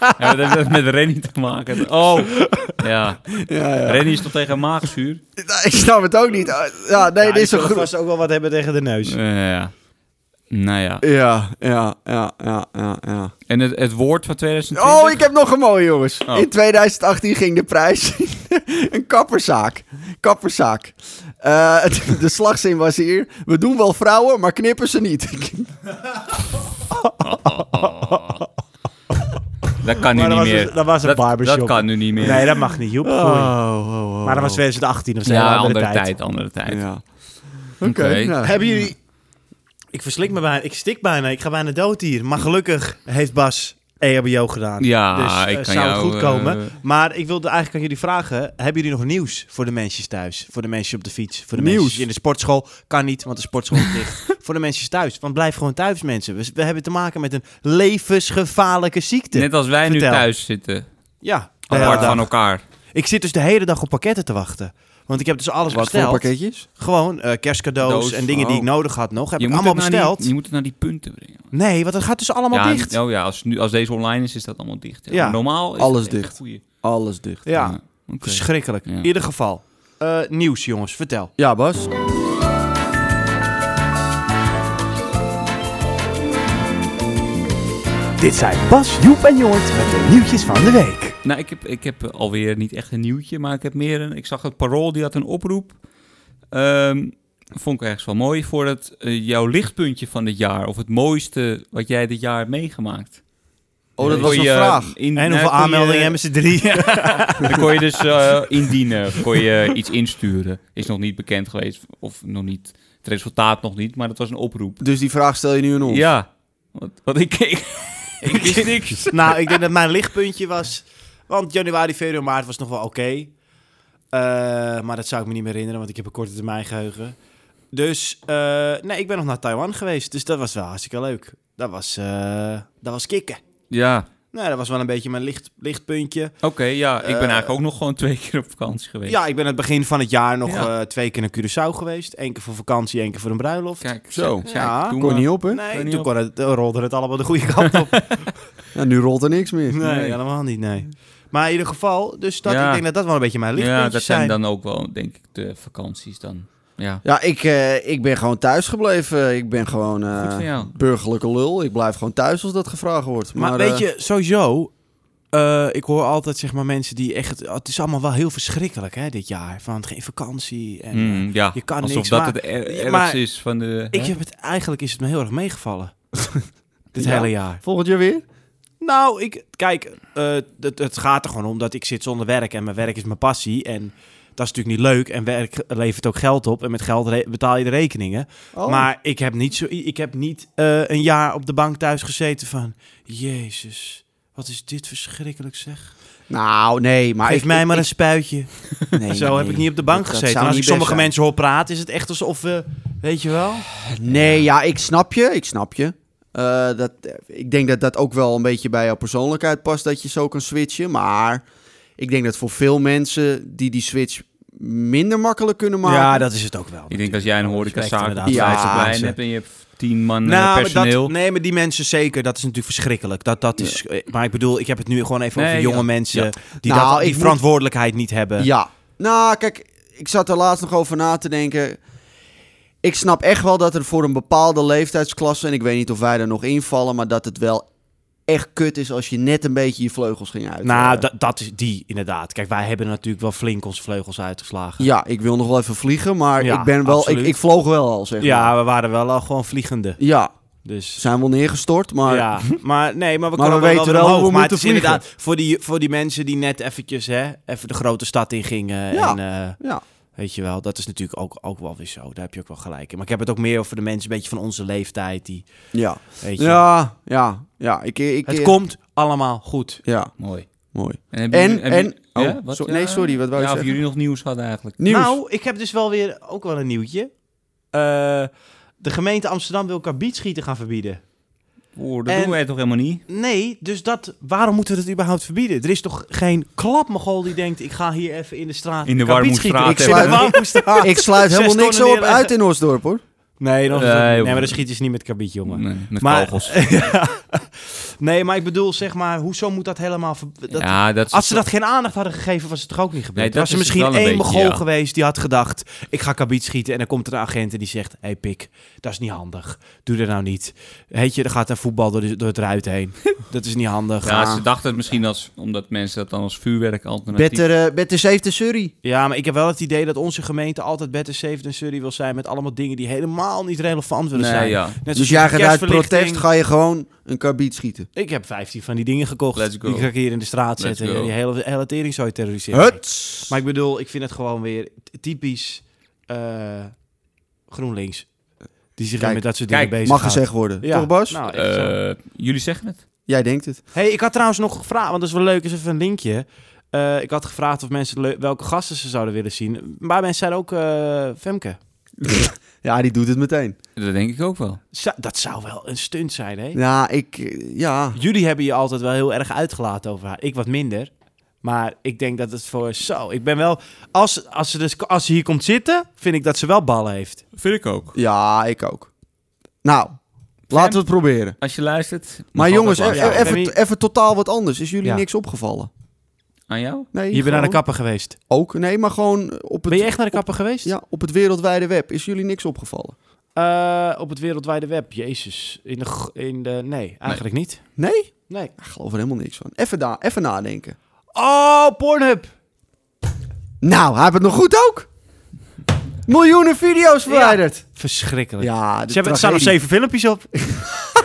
Speaker 4: Ja, maar dat heeft met Rennie te maken. Oh! Ja.
Speaker 2: ja, ja.
Speaker 4: Rennie is toch tegen maagzuur?
Speaker 2: Nou, Ik snap het ook niet. Ah, Ja, nee,
Speaker 1: Ja,
Speaker 2: dit
Speaker 1: die
Speaker 2: is een
Speaker 1: zullen
Speaker 2: groep.
Speaker 1: vast ook wel wat hebben tegen de neus.
Speaker 4: Eh, ja. Nou ja.
Speaker 2: Ja, ja, ja, ja, ja, ja.
Speaker 4: En het, het woord van 2020?
Speaker 2: Oh, ik heb nog een mooie, jongens.
Speaker 4: Oh.
Speaker 2: In 2018 ging de prijs een kapperzaak. Kapperzaak. Eh, het- de slagzin was hier. We doen wel vrouwen, maar knippen ze niet.
Speaker 4: Dat kan nu
Speaker 1: Oh! Maar dat
Speaker 4: niet
Speaker 1: was
Speaker 4: meer.
Speaker 1: een- dat was een
Speaker 4: dat,
Speaker 1: barbershop.
Speaker 4: Dat kan nu niet meer.
Speaker 1: Nee, dat mag niet,
Speaker 2: Oh.
Speaker 1: Joep. Sorry. Maar dat was 2018 of zo.
Speaker 4: ja,
Speaker 1: een
Speaker 4: andere, tijd. andere tijd.
Speaker 2: Ja. Oké.
Speaker 4: Oké.
Speaker 2: nou.
Speaker 1: Hebben jullie... Ehm, Ik verslik me bijna. Ik stik bijna. Ik ga bijna dood hier. Maar gelukkig heeft Bas E EHBO gedaan.
Speaker 4: Ja,
Speaker 1: dus eh,
Speaker 4: ik kan
Speaker 1: zou het
Speaker 4: jou,
Speaker 1: goed komen.
Speaker 4: eh,
Speaker 1: Maar ik wilde eigenlijk aan jullie vragen. Hebben jullie nog nieuws voor de mensen thuis? Voor de mensen op de fiets? Voor de
Speaker 2: Nieuws?
Speaker 1: mensen in de sportschool? Kan niet, want de sportschool is dicht. voor de mensen thuis. Want blijf gewoon thuis, mensen. We, we hebben te maken met een levensgevaarlijke ziekte.
Speaker 4: Net als wij
Speaker 1: Vertel.
Speaker 4: nu thuis zitten.
Speaker 1: Ja. de hele
Speaker 4: Apart
Speaker 1: dag.
Speaker 4: van elkaar.
Speaker 1: Ik zit dus de hele dag op pakketten te wachten. Want ik heb dus alles
Speaker 2: Wat voor
Speaker 1: besteld.
Speaker 2: pakketjes?
Speaker 1: Gewoon eh, kerstcadeaus
Speaker 4: Cadeaus,
Speaker 1: en dingen die ik
Speaker 2: oh.
Speaker 1: nodig had nog. Heb
Speaker 4: Je
Speaker 1: ik
Speaker 4: moet,
Speaker 1: allemaal
Speaker 4: het nou naar
Speaker 1: besteld.
Speaker 4: die, je moet het naar die punten brengen.
Speaker 1: Nee, want het gaat dus allemaal
Speaker 4: ja,
Speaker 1: dicht.
Speaker 4: Oh ja, als, nu, als deze online is, is dat allemaal dicht. hè.
Speaker 1: Ja.
Speaker 4: Normaal is
Speaker 2: Alles
Speaker 4: het echt een
Speaker 2: dicht.
Speaker 4: goeie.
Speaker 2: Alles dicht.
Speaker 1: Ja,
Speaker 4: oké.
Speaker 1: verschrikkelijk.
Speaker 4: Ja.
Speaker 1: In ieder geval. Eh, nieuws, jongens. Vertel.
Speaker 2: Ja, Bas. Oh,
Speaker 3: Dit zijn Bas, Joep en Jort met de nieuwtjes van de week.
Speaker 4: Nou, ik heb, ik heb eh, alweer niet echt een nieuwtje, maar ik heb meer een... Ik zag het parool, die had een oproep. Ehm, vond ik ergens wel mooi. Voor het, eh, jouw lichtpuntje van het jaar. Of het mooiste wat jij dit jaar hebt meegemaakt.
Speaker 2: Oh, dat
Speaker 4: Kon
Speaker 2: was een
Speaker 4: je, eh,
Speaker 2: vraag.
Speaker 4: in-
Speaker 1: En
Speaker 4: nou,
Speaker 1: hoeveel
Speaker 4: kon je-
Speaker 1: aanmeldingen hebben ze? Drie.
Speaker 4: Dan kon je dus eh, indienen, of kon je iets insturen. Is nog niet bekend geweest, of nog niet, het resultaat nog niet, maar dat was een oproep.
Speaker 2: Dus die vraag stel je nu aan ons.
Speaker 4: Ja, want, want ik, ik, ik wist niks.
Speaker 1: nou, ik denk dat mijn lichtpuntje was... Want januari, februari, maart was nog wel oké. Eh, maar dat zou ik me niet meer herinneren, want ik heb een korte termijn geheugen. Dus eh, nee, ik ben nog naar Taiwan geweest. Dus dat was wel hartstikke leuk. Dat was, eh, dat was kicken.
Speaker 4: Ja,
Speaker 1: Nou, dat was wel een beetje mijn licht, lichtpuntje.
Speaker 4: oké, ja. Ik ben
Speaker 1: Eh,
Speaker 4: eigenlijk ook nog gewoon twee keer op vakantie geweest.
Speaker 1: Ja, ik ben het begin van het jaar nog
Speaker 4: Ja.
Speaker 1: eh, twee keer naar Curaçao geweest. Eén keer voor vakantie, één keer voor een bruiloft.
Speaker 4: Kijk,
Speaker 2: Zo.
Speaker 4: kijk,
Speaker 1: Ja,
Speaker 4: doe
Speaker 2: Kon
Speaker 4: maar.
Speaker 2: niet op, hè?
Speaker 1: Nee,
Speaker 4: Kan niet
Speaker 1: toen
Speaker 4: op.
Speaker 1: kon het, eh, rolde het allemaal de goede kant op.
Speaker 2: Ja, nu rolt er niks meer.
Speaker 1: Nee, helemaal niet, nee. Maar in ieder geval, dus dat,
Speaker 4: Ja.
Speaker 1: ik denk dat dat wel een beetje mijn lichtpuntjes
Speaker 4: Ja, dat
Speaker 1: zijn.
Speaker 4: zijn dan ook wel, denk ik, de vakanties dan. Ja,
Speaker 2: Ja, ik, eh, ik ben gewoon thuis gebleven. Ik ben gewoon eh,
Speaker 4: Goed van jou.
Speaker 2: burgerlijke lul. Ik blijf gewoon thuis als dat gevraagd wordt.
Speaker 1: Maar,
Speaker 2: Maar,
Speaker 1: weet
Speaker 2: eh,
Speaker 1: je, sowieso, eh, ik hoor altijd zeg maar mensen die echt... Het is allemaal wel heel verschrikkelijk hè, dit jaar. Van geen vakantie en... eh,
Speaker 4: Mm, ja.
Speaker 1: je kan
Speaker 4: alsof
Speaker 1: niks,
Speaker 4: dat
Speaker 1: maar-
Speaker 4: het er, ergste
Speaker 1: maar-
Speaker 4: is van de...
Speaker 1: eh, ik heb het, eigenlijk is het me heel erg meegevallen. dit
Speaker 2: Ja.
Speaker 1: hele jaar.
Speaker 2: Volgend jaar weer?
Speaker 1: Nou, ik, kijk, eh, het, het gaat er gewoon om dat ik zit zonder werk. En mijn werk is mijn passie. En dat is natuurlijk niet leuk. En werk levert ook geld op. En met geld re- betaal je de rekeningen.
Speaker 2: Oh.
Speaker 1: Maar ik heb niet, zo, ik heb niet eh, een jaar op de bank thuis gezeten van... Jezus, wat is dit verschrikkelijk zeg.
Speaker 2: Nou, nee. Maar
Speaker 1: Geef
Speaker 2: ik,
Speaker 1: mij
Speaker 2: ik-
Speaker 1: maar een
Speaker 2: ik-
Speaker 1: spuitje.
Speaker 2: nee,
Speaker 1: zo heb
Speaker 2: nee.
Speaker 1: ik niet op de bank
Speaker 2: Dat- dat
Speaker 1: gezeten.
Speaker 2: zou
Speaker 1: En als ik
Speaker 2: niet
Speaker 1: sommige
Speaker 2: best
Speaker 1: mensen hoor praten, is het echt alsof we... Weet je wel?
Speaker 2: Nee, ja, ik snap je. Ik snap je. Eh, dat, eh, ik denk dat dat ook wel een beetje bij jouw persoonlijkheid past, dat je zo kan switchen. Maar ik denk dat voor veel mensen die die switch minder makkelijk kunnen maken...
Speaker 1: ja, dat is het ook wel.
Speaker 4: Ik denk dat jij een
Speaker 1: natuurlijk. Je
Speaker 4: horecazaak
Speaker 1: spreekt
Speaker 4: op
Speaker 1: Oh, inderdaad
Speaker 2: Ja.
Speaker 1: vijftig
Speaker 2: Ja.
Speaker 4: plein
Speaker 1: mensen.
Speaker 4: hebt en je hebt tien man eh,
Speaker 1: Nou, maar
Speaker 4: personeel.
Speaker 1: dat, nee, maar die mensen zeker, dat is natuurlijk verschrikkelijk. Dat, dat is, eh, Maar ik bedoel, ik heb het nu gewoon even
Speaker 4: Nee,
Speaker 1: over jonge
Speaker 4: ja.
Speaker 1: mensen
Speaker 4: Ja.
Speaker 1: die,
Speaker 2: Nou,
Speaker 1: dat, die
Speaker 2: ik moet-
Speaker 1: verantwoordelijkheid niet hebben.
Speaker 2: Ja. Nou, kijk, ik zat er laatst nog over na te denken. Ik snap echt wel dat er voor een bepaalde leeftijdsklasse, en ik weet niet of wij er nog invallen, maar dat het wel echt kut is als je net een beetje je vleugels ging uit.
Speaker 1: Nou,
Speaker 2: eh,
Speaker 1: da- dat is die inderdaad. Kijk, wij hebben natuurlijk wel flink onze vleugels uitgeslagen.
Speaker 2: Ja, ik wil nog wel even vliegen, maar
Speaker 1: Ja,
Speaker 2: ik ben wel, ik,
Speaker 1: absoluut.
Speaker 2: ik vloog wel al, zeg maar.
Speaker 1: Ja, we waren wel al gewoon vliegende.
Speaker 2: Ja,
Speaker 1: Dus
Speaker 2: zijn wel neergestort, maar ja,
Speaker 1: ja, maar nee, maar we
Speaker 2: Maar
Speaker 1: kunnen
Speaker 2: we
Speaker 1: wel
Speaker 2: weten
Speaker 1: weer
Speaker 2: wel hoe
Speaker 1: omhoog.
Speaker 2: we
Speaker 1: maar het is
Speaker 2: moeten vliegen.
Speaker 1: inderdaad voor die, voor die mensen die net eventjes hè, even de grote stad in gingen.
Speaker 2: Ja.
Speaker 1: En, eh, weet je wel, dat is natuurlijk ook, ook wel weer zo. Daar heb je ook wel gelijk in. Maar ik heb het ook meer over de mensen een beetje van onze leeftijd. Die,
Speaker 2: ja,
Speaker 1: weet je,
Speaker 2: ja, ja, ja. Ik, ik,
Speaker 1: het
Speaker 2: ik-
Speaker 1: komt allemaal goed.
Speaker 2: Ja,
Speaker 4: Mooi.
Speaker 2: mooi.
Speaker 4: En, hebben
Speaker 2: En-
Speaker 4: jullie- hebben
Speaker 2: en-
Speaker 4: jullie-
Speaker 2: oh,
Speaker 4: ja, wat,
Speaker 2: so-
Speaker 4: ja?
Speaker 2: nee, sorry, wat wou je
Speaker 4: Ja, of
Speaker 2: zeggen?
Speaker 4: jullie nog nieuws hadden eigenlijk.
Speaker 2: Nieuws.
Speaker 1: Nou, ik heb dus wel weer ook wel een nieuwtje. Eh, de gemeente Amsterdam wil elkaar schieten gaan verbieden.
Speaker 4: Oeh, dat
Speaker 1: En-
Speaker 4: doen wij toch helemaal niet?
Speaker 1: Nee, dus dat, waarom moeten we dat überhaupt verbieden? Er is toch geen klapmogol die denkt, ik ga hier even in de straat
Speaker 4: In de
Speaker 1: kabiet schieten.
Speaker 4: Warmoestraat
Speaker 2: even.
Speaker 1: Ik zit in de Warmoestraat.
Speaker 2: ik sluit
Speaker 1: Zes
Speaker 2: helemaal
Speaker 1: tonnen
Speaker 2: niks zo op
Speaker 1: neerleggen.
Speaker 2: uit in Osdorp, hoor.
Speaker 1: Nee, dan,
Speaker 4: Nee, Mm.
Speaker 1: nee,
Speaker 4: joh.
Speaker 1: maar dan schieten ze niet met kabiet, jongen.
Speaker 4: Nee, met
Speaker 1: maar, eh,
Speaker 4: kogels.
Speaker 1: Nee, maar ik bedoel, zeg maar, hoezo moet dat helemaal... ver- dat-
Speaker 4: ja, dat is-
Speaker 1: Als ze dat geen aandacht hadden gegeven, was het toch ook niet gebeurd?
Speaker 4: Nee, dat
Speaker 1: was er
Speaker 4: is
Speaker 1: misschien
Speaker 4: wel een
Speaker 1: één
Speaker 4: beetje,
Speaker 1: Mogol
Speaker 4: ja.
Speaker 1: geweest die had gedacht... ik ga kabiet schieten en dan komt er een agent en die zegt... hé hey, pik, dat is niet handig. Doe dat nou niet. Heet je, er gaat een voetbal door, de- door het ruit heen. dat is niet handig.
Speaker 4: ja, ze dachten het misschien als, omdat mensen dat dan als vuurwerk alternatief...
Speaker 2: Better, eh, better safe than sorry.
Speaker 1: Ja, maar ik heb wel het idee dat onze gemeente altijd better safe than sorry wil zijn... met allemaal dingen die helemaal niet relevant willen
Speaker 4: Nee,
Speaker 1: zijn.
Speaker 4: ja.
Speaker 1: Net
Speaker 2: Dus
Speaker 1: zoals
Speaker 2: jij
Speaker 1: de
Speaker 2: gaat uit
Speaker 1: kerstverlichting.
Speaker 2: protest, ga je gewoon een karbiet schieten.
Speaker 1: Ik heb 15 van die dingen gekocht.
Speaker 4: Let's go.
Speaker 1: Die ga ik hier in de straat
Speaker 4: Let's
Speaker 1: zetten.
Speaker 4: go.
Speaker 1: Ja, die hele, hele tering zou je terroriseren.
Speaker 2: Huts!
Speaker 1: Maar ik bedoel, ik vind het gewoon weer t- typisch eh, GroenLinks. Die zich
Speaker 2: Kijk,
Speaker 1: met dat soort
Speaker 4: kijk,
Speaker 1: dingen bezig
Speaker 2: Mag gezegd worden, toch Bas?
Speaker 1: Nou, echt zo.
Speaker 4: Eh, jullie zeggen het?
Speaker 2: Jij denkt het.
Speaker 1: hey, ik had trouwens nog gevraagd, want dat is wel leuk, is even een linkje. Eh, ik had gevraagd of mensen leu- welke gasten ze zouden willen zien. Maar mensen zeiden ook eh, Femke.
Speaker 2: Ja, die doet het meteen.
Speaker 4: Dat denk ik ook wel.
Speaker 1: Zou- dat zou wel een stunt zijn, hè?
Speaker 2: Ja, ik... eh, Ja.
Speaker 1: Jullie hebben je altijd wel heel erg uitgelaten over haar. Ik wat minder. Maar ik denk dat het voor zo. Ik ben wel. Als, als, ze, dus, als ze hier komt zitten, vind ik dat ze wel ballen heeft.
Speaker 4: Vind ik ook.
Speaker 2: Ja, ik ook. Nou, laten we het proberen.
Speaker 4: Als je luistert... mag
Speaker 2: Maar
Speaker 4: altijd
Speaker 2: jongens,
Speaker 4: wel.
Speaker 2: e-
Speaker 1: lachen.
Speaker 2: e- even
Speaker 1: Ja.
Speaker 2: even totaal wat anders. Is jullie
Speaker 1: Ja.
Speaker 2: niks opgevallen?
Speaker 4: Aan jou?
Speaker 2: Nee,
Speaker 1: Je bent naar de
Speaker 2: gewoon-
Speaker 1: kapper geweest.
Speaker 2: Ook, nee, maar gewoon op het,
Speaker 1: Ben je echt naar de kapper geweest?
Speaker 2: ja, op het wereldwijde web. Is jullie niks opgevallen?
Speaker 1: Eh, op het wereldwijde web. Jezus. In de, g- in de, nee, eigenlijk niet.
Speaker 2: Nee?
Speaker 1: Nee.
Speaker 2: Ik geloof er helemaal niks van. Even, da- even nadenken.
Speaker 1: Oh, Pornhub.
Speaker 2: Nou, hij heeft het nog goed ook. Miljoenen video's verwijderd.
Speaker 1: Verschrikkelijk.
Speaker 2: Ja, de
Speaker 1: ze hebben, er staan nog
Speaker 2: tragedie.
Speaker 1: zeven filmpjes op. Die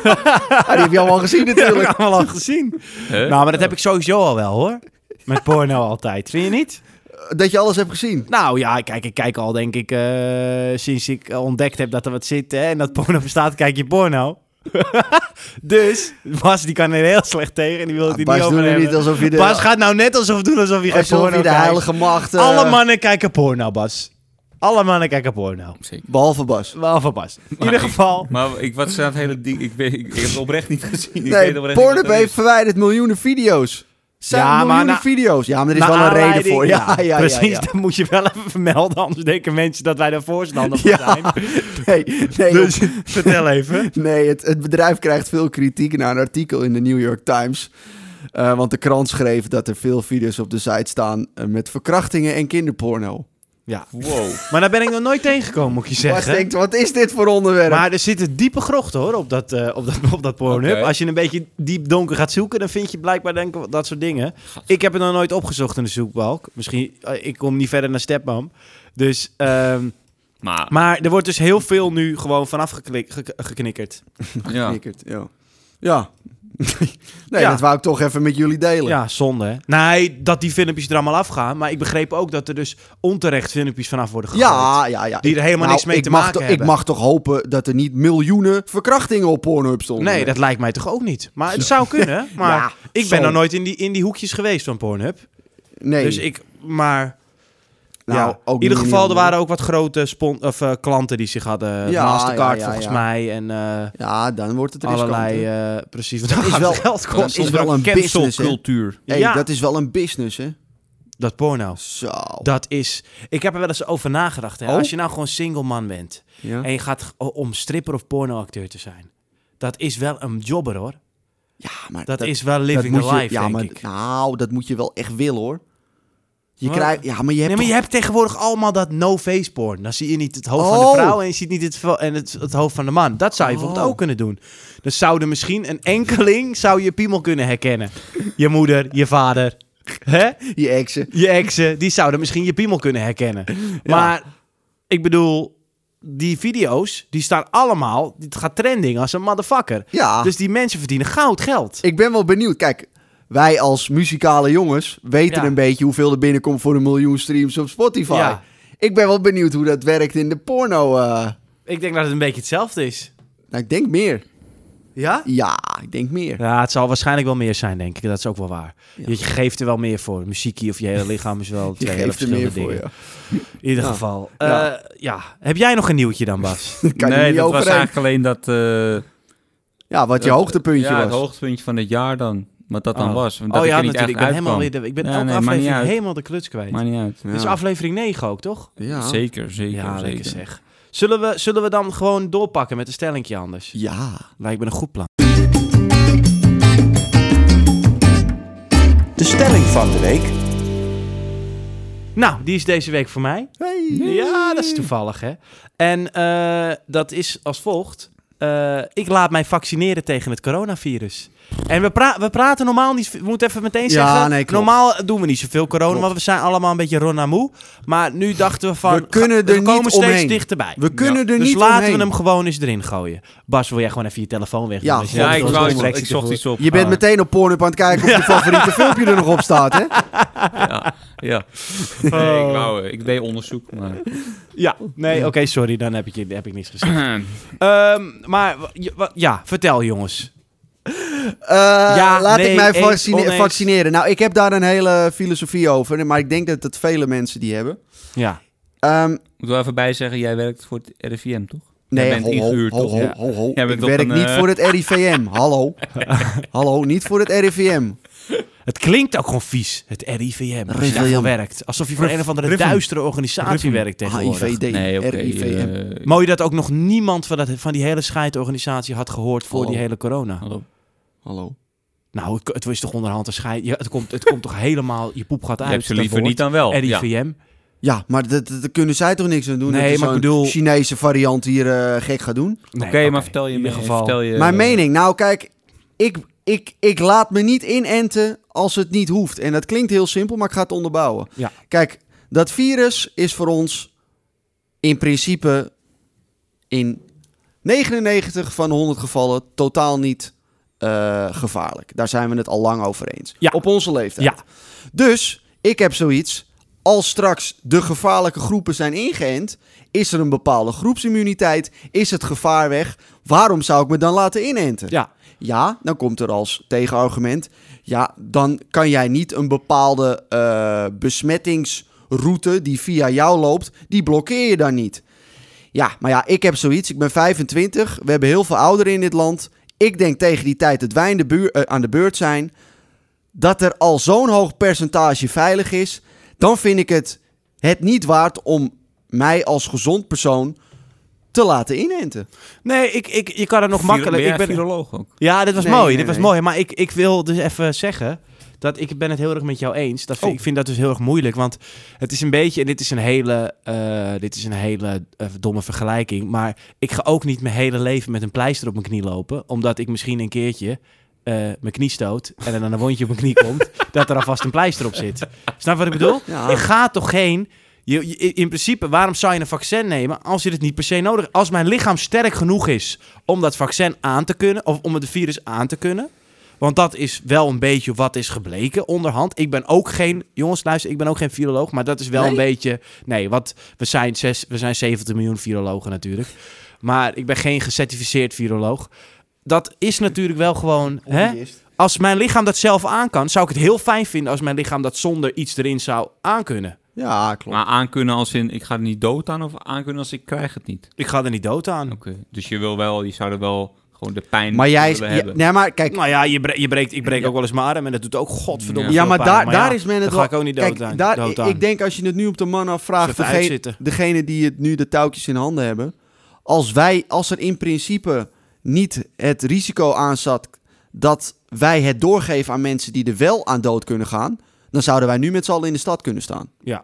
Speaker 2: Ah, die heb je allemaal gezien
Speaker 1: heb ik
Speaker 2: natuurlijk.
Speaker 1: allemaal al gezien.
Speaker 4: Hè?
Speaker 1: Nou, maar dat heb ik sowieso al wel hoor. Met porno altijd. Vind je niet?
Speaker 2: Dat je alles hebt gezien.
Speaker 1: Nou ja, kijk, ik kijk al denk ik eh, sinds ik ontdekt heb dat er wat zit hè, en dat porno bestaat, kijk je porno. Dus Bas die kan er heel slecht tegen en die wil het hier
Speaker 2: Ah, Bas,
Speaker 1: niet
Speaker 2: doe
Speaker 1: over
Speaker 2: nu
Speaker 1: hebben.
Speaker 2: niet alsof je de,
Speaker 1: Bas gaat nou net alsof doen alsof hij geen
Speaker 2: alsof je
Speaker 1: porno
Speaker 2: de
Speaker 1: kijkt.
Speaker 2: heilige macht... eh,
Speaker 1: Alle mannen kijken porno, Bas. Alle mannen kijken porno.
Speaker 4: Zeker.
Speaker 2: Behalve Bas.
Speaker 1: Behalve Bas. In ieder geval.
Speaker 4: Maar ik, wat staat het hele ding? Ik, weet, ik, ik heb het oprecht niet gezien. Ik weet
Speaker 2: Nee,
Speaker 4: oprecht niet wat
Speaker 2: Pornhub
Speaker 4: dat
Speaker 2: heeft
Speaker 4: is.
Speaker 2: verwijderd miljoenen video's. Zijn
Speaker 1: Ja, maar
Speaker 2: miljoenen
Speaker 1: na-
Speaker 2: video's. Ja, maar er is
Speaker 1: naar
Speaker 2: wel een reden
Speaker 1: aanleiding-
Speaker 2: voor. Ja, ja, ja,
Speaker 1: precies.
Speaker 2: ja.
Speaker 1: Dat moet je wel even vermelden, anders denken mensen dat wij daar voorstander van
Speaker 2: Ja.
Speaker 1: zijn.
Speaker 2: Nee, nee,
Speaker 1: Dus vertel even.
Speaker 2: Nee, het, het bedrijf krijgt veel kritiek na een artikel in de New York Times. Eh, want de krant schreef dat er veel video's op de site staan eh, met verkrachtingen en kinderporno.
Speaker 1: Ja.
Speaker 4: Wow.
Speaker 1: Maar daar ben ik nog nooit tegengekomen, moet je
Speaker 2: Bas
Speaker 1: zeggen.
Speaker 2: denkt, wat is dit voor onderwerp?
Speaker 1: Maar er zitten diepe grochten hoor, op dat, eh, op dat, op dat Pornhub.
Speaker 4: Oké.
Speaker 1: Als je een beetje diep donker gaat zoeken, dan vind je blijkbaar denk ik, dat soort dingen. Ik heb het nog nooit opgezocht in de zoekbalk. Misschien, eh, ik kom niet verder naar Stepmom. Dus, ehm,
Speaker 4: Maar,
Speaker 1: maar er wordt dus heel veel nu gewoon vanaf geklik- ge- geknikkerd.
Speaker 4: ja.
Speaker 2: Knikkert, ja. Ja. nee,
Speaker 1: Ja.
Speaker 2: dat wou ik toch even met jullie delen.
Speaker 1: Ja, zonde hè? Nee, dat die filmpjes er allemaal afgaan. Maar ik begreep ook dat er dus onterecht filmpjes vanaf worden gegooid.
Speaker 2: ja, ja. ja.
Speaker 1: Die er helemaal
Speaker 2: Nou,
Speaker 1: niks mee
Speaker 2: ik
Speaker 1: te
Speaker 2: mag
Speaker 1: maken
Speaker 2: toch-
Speaker 1: hebben.
Speaker 2: Ik mag toch hopen dat er niet miljoenen verkrachtingen op Pornhub stonden?
Speaker 1: Nee, dat lijkt mij toch ook niet. Maar het zou kunnen. Maar
Speaker 2: Ja,
Speaker 1: ik ben
Speaker 2: zo.
Speaker 1: nog nooit in die, in die hoekjes geweest van Pornhub.
Speaker 2: Nee.
Speaker 1: Dus ik, maar
Speaker 2: Nou,
Speaker 1: ja.
Speaker 2: ook
Speaker 1: in ieder
Speaker 2: niet
Speaker 1: geval, er
Speaker 2: helemaal.
Speaker 1: waren ook wat grote spon- of, eh, klanten die zich hadden.
Speaker 2: Ja,
Speaker 1: Mastercard
Speaker 2: ja, ja,
Speaker 1: volgens
Speaker 2: ja.
Speaker 1: mij en eh,
Speaker 2: Ja, dan wordt het riskanter.
Speaker 1: allerlei, eh, precies. Want
Speaker 2: is
Speaker 1: dat
Speaker 2: wel-
Speaker 1: wel geld
Speaker 2: dat is
Speaker 1: kost.
Speaker 2: wel een business, dus, hè?
Speaker 4: Cancelcultuur.
Speaker 2: Hey,
Speaker 1: ja.
Speaker 2: Dat is wel een business, hè?
Speaker 1: Dat porno.
Speaker 2: Zo.
Speaker 1: Dat is. Ik heb er wel eens over nagedacht. Hè.
Speaker 2: Oh?
Speaker 1: Als je nou gewoon single man bent
Speaker 2: Ja.
Speaker 1: en je gaat g- om stripper of pornoacteur te zijn, dat is wel een jobber hoor.
Speaker 2: Ja, maar
Speaker 1: Dat, is wel living
Speaker 2: moet
Speaker 1: the
Speaker 2: je-
Speaker 1: life,
Speaker 2: ja,
Speaker 1: denk
Speaker 2: maar,
Speaker 1: ik.
Speaker 2: Nou, dat moet je wel echt willen, hoor. Je
Speaker 1: Wat?
Speaker 2: krijgt... Ja, maar je
Speaker 1: Nee,
Speaker 2: hebt...
Speaker 1: maar je
Speaker 2: toch-
Speaker 1: hebt tegenwoordig allemaal dat no-face porn. Dan zie je niet het hoofd
Speaker 2: Oh.
Speaker 1: van de vrouw en je ziet niet het, vo- en het, het hoofd van de man. Dat zou je bijvoorbeeld
Speaker 2: Oh.
Speaker 1: ook kunnen doen. Dan zouden misschien een enkeling zou je piemel kunnen herkennen. Je moeder, je vader, hè?
Speaker 2: je exen.
Speaker 1: je exen, die zouden misschien je piemel kunnen herkennen. Maar ik bedoel, die video's, die staan allemaal... Het gaat trending als een motherfucker.
Speaker 2: Ja.
Speaker 1: Dus die mensen verdienen goud geld.
Speaker 2: Ik ben wel benieuwd. Kijk, wij als muzikale jongens weten
Speaker 1: Ja.
Speaker 2: een beetje hoeveel er binnenkomt voor een miljoen streams op Spotify.
Speaker 1: Ja.
Speaker 2: Ik ben wel benieuwd hoe dat werkt in de porno. eh.
Speaker 1: Ik denk dat het een beetje hetzelfde is.
Speaker 2: Nou, ik denk meer.
Speaker 1: Ja?
Speaker 2: Ja, ik denk meer.
Speaker 1: Ja, het zal waarschijnlijk wel meer zijn, denk ik. Dat is ook wel waar.
Speaker 2: Ja.
Speaker 1: Je geeft er wel meer voor. Muziekie of je hele lichaam is wel
Speaker 2: Je
Speaker 1: twee hele
Speaker 2: geeft er meer
Speaker 1: verschillende
Speaker 2: voor,
Speaker 1: dingen.
Speaker 2: ja.
Speaker 1: In ieder
Speaker 2: Ja.
Speaker 1: geval.
Speaker 2: Ja.
Speaker 1: Ja. ja. Heb jij nog een nieuwtje dan, Bas?
Speaker 2: Dat kan je
Speaker 4: nee,
Speaker 2: niet
Speaker 4: dat was
Speaker 2: overheen.
Speaker 4: eigenlijk alleen dat... eh,
Speaker 2: Ja, wat je
Speaker 4: dat-
Speaker 2: hoogtepuntje
Speaker 4: ja, het
Speaker 2: was.
Speaker 4: hoogtepuntje van het jaar dan. Wat dat dan
Speaker 1: Oh.
Speaker 4: was. want Dat
Speaker 1: oh
Speaker 4: ik
Speaker 1: ja,
Speaker 4: er niet
Speaker 1: natuurlijk. Ik ben,
Speaker 4: echt
Speaker 1: helemaal weer
Speaker 4: uitkwam.
Speaker 1: de, ik ben
Speaker 4: Nee,
Speaker 1: elke
Speaker 4: nee, maakt niet
Speaker 1: aflevering
Speaker 4: uit.
Speaker 1: helemaal de kluts kwijt.
Speaker 4: Maakt niet uit.
Speaker 1: Dit is
Speaker 2: Ja.
Speaker 1: aflevering 9 ook, toch?
Speaker 2: Ja.
Speaker 4: Zeker, zeker,
Speaker 1: ja,
Speaker 4: zeker.
Speaker 1: lekker zeg. Zullen we, zullen we dan gewoon doorpakken met een stellingje anders?
Speaker 2: Ja.
Speaker 1: Lijkt me een goed plan. De stelling van de week. Nou, die is deze week voor mij. Ja, dat is toevallig, hè? En eh, dat is als volgt. Eh, ik laat mij vaccineren tegen het coronavirus. En we, pra- we praten normaal niet... We moeten even meteen
Speaker 2: Ja,
Speaker 1: zeggen...
Speaker 2: nee, klopt.
Speaker 1: normaal doen we niet zoveel corona,
Speaker 2: Klopt.
Speaker 1: want we zijn allemaal een beetje ronna moe. Maar nu dachten we van...
Speaker 2: We kunnen er
Speaker 1: we komen
Speaker 2: niet
Speaker 1: steeds
Speaker 2: omheen.
Speaker 1: dichterbij.
Speaker 2: We kunnen er
Speaker 1: dus
Speaker 2: niet
Speaker 1: laten
Speaker 2: omheen.
Speaker 1: we hem gewoon eens erin gooien. Bas, wil jij gewoon even je telefoon weg?
Speaker 2: Ja,
Speaker 4: Ja, ik, wou, ik,
Speaker 1: zocht
Speaker 4: ik zocht iets op.
Speaker 2: Je bent
Speaker 4: Ah,
Speaker 2: meteen op Pornhub aan het kijken of je favoriete filmpje er nog op staat, hè?
Speaker 4: Ja. Nee, ik, wou, eh, ik deed onderzoek, maar...
Speaker 1: Ja, nee, oké, sorry, dan heb ik, je- heb ik niks gezegd. Ehm, maar w- je- wa- ja, vertel jongens.
Speaker 2: Eh,
Speaker 1: Ja,
Speaker 2: laat
Speaker 1: nee,
Speaker 2: ik mij
Speaker 1: eens,
Speaker 2: vaccine-
Speaker 1: oneens.
Speaker 2: vaccineren. Nou, ik heb daar een hele filosofie over, maar ik denk dat dat vele mensen die hebben.
Speaker 1: Ja,
Speaker 2: Ehm,
Speaker 4: Moet wel even bij zeggen, jij werkt voor het RIVM, toch?
Speaker 2: nee,
Speaker 4: Jij bent
Speaker 2: ho, ho,
Speaker 4: ingehuurd,
Speaker 2: ho,
Speaker 4: toch?
Speaker 2: ho,
Speaker 4: Ja.
Speaker 2: ho, ho.
Speaker 4: Jij bent
Speaker 2: Ik
Speaker 4: toch
Speaker 2: werk
Speaker 4: een,
Speaker 2: niet
Speaker 4: eh,
Speaker 2: voor het RIVM. Hallo. Hallo, niet voor het RIVM.
Speaker 1: het klinkt ook gewoon vies, het RIVM. Als je
Speaker 2: RIVM.
Speaker 1: daarvoor werkt. Alsof je voor een of andere
Speaker 4: Riven.
Speaker 1: duistere organisatie werkt
Speaker 2: Ah,
Speaker 1: tegenwoordig.
Speaker 2: HIVD,
Speaker 4: Nee, oké.
Speaker 2: RIVM.
Speaker 4: eh,
Speaker 1: Mooi dat ook nog niemand van, dat, van die hele scheidorganisatie had gehoord voor
Speaker 2: Hallo.
Speaker 1: die hele corona.
Speaker 4: hallo.
Speaker 2: Hallo.
Speaker 1: Nou, het, het is toch onderhand een scheid. Ja, het, komt, het komt toch helemaal, je poep gaat
Speaker 4: Je
Speaker 1: uit.
Speaker 4: hebt ze
Speaker 1: dat
Speaker 4: liever
Speaker 1: woord.
Speaker 4: niet dan wel. Ja.
Speaker 1: RIVM.
Speaker 2: Ja, maar dat- dat- daar kunnen zij toch niks aan doen?
Speaker 1: Nee,
Speaker 2: dat er
Speaker 1: maar ik
Speaker 2: zo'n
Speaker 1: bedoel-
Speaker 2: Chinese variant hier eh, gek gaat doen?
Speaker 1: Nee,
Speaker 4: Oké, maar vertel je,
Speaker 1: in
Speaker 4: me-
Speaker 1: ieder geval.
Speaker 4: vertel je
Speaker 2: Mijn mening, nou kijk, ik, ik, ik laat me niet inenten als het niet hoeft. En dat klinkt heel simpel, maar ik ga het onderbouwen.
Speaker 1: Ja.
Speaker 2: Kijk, dat virus is voor ons in principe in 99 van de 100 gevallen totaal niet eh, gevaarlijk. Daar zijn we het al lang over eens.
Speaker 1: Ja.
Speaker 2: Op onze leeftijd.
Speaker 1: Ja,
Speaker 2: Dus ik heb zoiets. Als straks de gevaarlijke groepen zijn ingeënt, is er een bepaalde groepsimmuniteit, is het gevaar weg, Waarom zou ik me dan laten inenten?
Speaker 1: Ja.
Speaker 2: Ja, dan komt er als tegenargument. Ja, dan kan jij niet een bepaalde eh, besmettingsroute die via jou loopt, die blokkeer je dan niet. Ja, maar ja, ik heb zoiets. Ik ben 25. We hebben heel veel ouderen in dit land. Ik denk tegen die tijd dat wij in de buur- eh, aan de beurt zijn, dat er al zo'n hoog percentage veilig is. Dan vind ik het het niet waard om mij als gezond persoon te laten inenten.
Speaker 1: Nee, ik, ik, je kan er nog
Speaker 4: Viro-
Speaker 1: makkelijk...
Speaker 4: Ben
Speaker 1: Ik
Speaker 4: jij
Speaker 1: ben,
Speaker 4: viroloog ook.
Speaker 1: Ja, dit was
Speaker 2: Nee,
Speaker 1: mooi.
Speaker 2: nee,
Speaker 1: dit was
Speaker 2: nee.
Speaker 1: mooi. Maar ik, ik wil dus even zeggen dat ik ben het heel erg met jou eens. Dat vind,
Speaker 2: Oh.
Speaker 1: Ik vind dat dus heel erg moeilijk. Want het is een beetje, en dit is een hele, eh, dit is een hele eh, domme vergelijking. Maar ik ga ook niet mijn hele leven met een pleister op mijn knie lopen. Omdat ik misschien een keertje eh, mijn knie stoot en er dan een wondje op mijn knie komt. Dat er alvast een pleister op zit. Snap wat ik bedoel?
Speaker 2: Ja.
Speaker 1: Ik ga toch geen. Je, je- in principe, waarom zou je een vaccin nemen als je het niet per se nodig hebt? Als mijn lichaam sterk genoeg is om dat vaccin aan te kunnen, of om het virus aan te kunnen. Want dat is wel een beetje wat is gebleken onderhand. Ik ben ook geen, jongens, luister, ik ben ook geen viroloog, maar dat is wel
Speaker 2: Nee?
Speaker 1: een beetje. Nee, want we zijn, zes, we zijn 70 miljoen virologen natuurlijk. Maar ik ben geen gecertificeerd viroloog. Dat is natuurlijk wel gewoon.
Speaker 2: Oh,
Speaker 1: Hè? Als mijn lichaam dat zelf aan kan, zou ik het heel fijn vinden als mijn lichaam dat zonder iets erin zou aankunnen.
Speaker 2: Ja, klopt.
Speaker 4: Maar aankunnen als in, ik ga er niet dood aan of aankunnen als ik krijg het niet.
Speaker 1: Ik ga er niet dood aan.
Speaker 4: Oké, dus je wil wel, je zou er wel gewoon de pijn
Speaker 2: Maar jij...
Speaker 4: willen
Speaker 2: ja,
Speaker 4: hebben.
Speaker 2: nee, maar kijk...
Speaker 1: Nou ja, je, bre- je breekt, ik breek
Speaker 4: Ja.
Speaker 1: ook wel eens mijn arm en dat doet ook godverdomme
Speaker 4: Ja.
Speaker 2: Ja,
Speaker 1: veel
Speaker 2: maar
Speaker 1: pijn.
Speaker 2: daar, daar
Speaker 1: ja,
Speaker 2: is men het
Speaker 1: daar
Speaker 2: wel...
Speaker 1: ga ik ook niet dood
Speaker 2: kijk,
Speaker 1: aan.
Speaker 2: daar-
Speaker 1: dood
Speaker 2: ik-
Speaker 1: aan.
Speaker 2: Ik denk als je het nu op de man afvraagt...
Speaker 1: Even
Speaker 2: degene-
Speaker 1: uitzitten.
Speaker 2: degene die het nu de touwtjes in handen hebben... Als wij, als er in principe niet het risico aan zat... dat wij het doorgeven aan mensen die er wel aan dood kunnen gaan... dan zouden wij nu met z'n allen in de stad kunnen staan.
Speaker 1: Ja.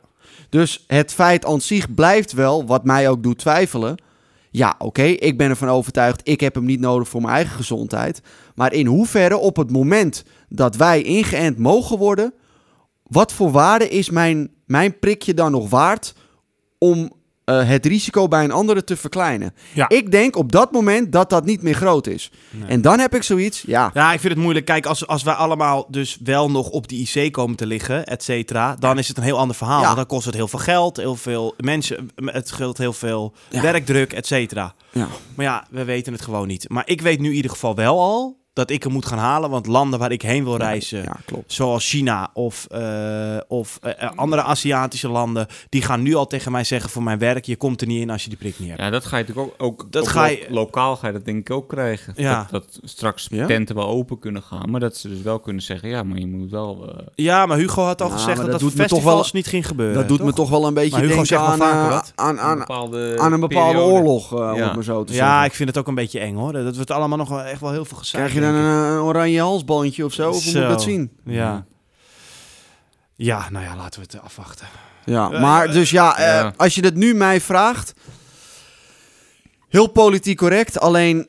Speaker 2: Dus het feit aan zich blijft wel, wat mij ook doet twijfelen. Ja, oké, ik ben ervan overtuigd, ik heb hem niet nodig voor mijn eigen gezondheid. Maar in hoeverre op het moment dat wij ingeënt mogen worden, wat voor waarde is mijn, mijn prikje dan nog waard om eh, het risico bij een andere te verkleinen?
Speaker 1: Ja.
Speaker 2: Ik denk op dat moment dat dat niet meer groot is. En dan heb ik zoiets, ja,
Speaker 1: Ja, ik vind het moeilijk. Kijk, als, als wij allemaal dus wel nog op die IC komen te liggen, et cetera, dan is het een heel ander verhaal.
Speaker 2: Ja.
Speaker 1: Want Dan kost het heel veel geld, heel veel mensen, het scheelt heel veel
Speaker 2: Ja.
Speaker 1: werkdruk, et cetera.
Speaker 2: ja.
Speaker 1: Maar ja, we weten het gewoon niet. Maar ik weet nu in ieder geval wel al dat ik hem moet gaan halen, want landen waar ik heen wil reizen,
Speaker 2: ja klopt.
Speaker 1: zoals China of, eh, of eh, eh, andere Aziatische landen, die gaan nu al tegen mij zeggen voor mijn werk, je komt er niet in als je die prik niet hebt.
Speaker 4: Ja, dat ga je natuurlijk ook... ook
Speaker 1: Dat
Speaker 4: ook
Speaker 1: ga
Speaker 4: lo-
Speaker 1: je-
Speaker 4: Lokaal ga je dat denk ik ook krijgen.
Speaker 1: Ja.
Speaker 4: Dat, dat straks
Speaker 2: Ja?
Speaker 4: tenten wel open kunnen gaan. Maar dat ze dus wel kunnen zeggen... Ja, maar je moet wel... eh,
Speaker 1: Ja, maar Hugo had al
Speaker 2: Ja,
Speaker 1: gezegd
Speaker 2: maar
Speaker 1: dat
Speaker 2: dat
Speaker 1: dat,
Speaker 2: doet me toch
Speaker 1: festivals
Speaker 2: wel-
Speaker 1: niet ging gebeuren.
Speaker 2: dat doet me toch wel een beetje
Speaker 1: Maar Hugo
Speaker 2: denken
Speaker 1: zegt wel
Speaker 2: aan,
Speaker 1: vaker
Speaker 2: eh,
Speaker 1: wat.
Speaker 2: aan, aan,
Speaker 4: bepaalde
Speaker 2: aan een bepaalde
Speaker 4: periode.
Speaker 2: oorlog, eh, om
Speaker 4: Ja.
Speaker 2: het maar zo te zeggen.
Speaker 1: Ja, ik vind het ook een beetje eng hoor. Dat wordt allemaal nog wel echt wel heel veel gezeik.
Speaker 2: Krijg je dan
Speaker 1: denk
Speaker 2: een,
Speaker 1: ik.
Speaker 2: eh, oranje halsbandje of zo? Of hoe moet
Speaker 1: Zo.
Speaker 2: ik dat zien?
Speaker 1: Ja. Ja, nou ja, laten we het afwachten.
Speaker 2: Ja, maar dus ja, eh,
Speaker 4: Ja.
Speaker 2: als je dat nu mij vraagt... Heel politiek correct, alleen...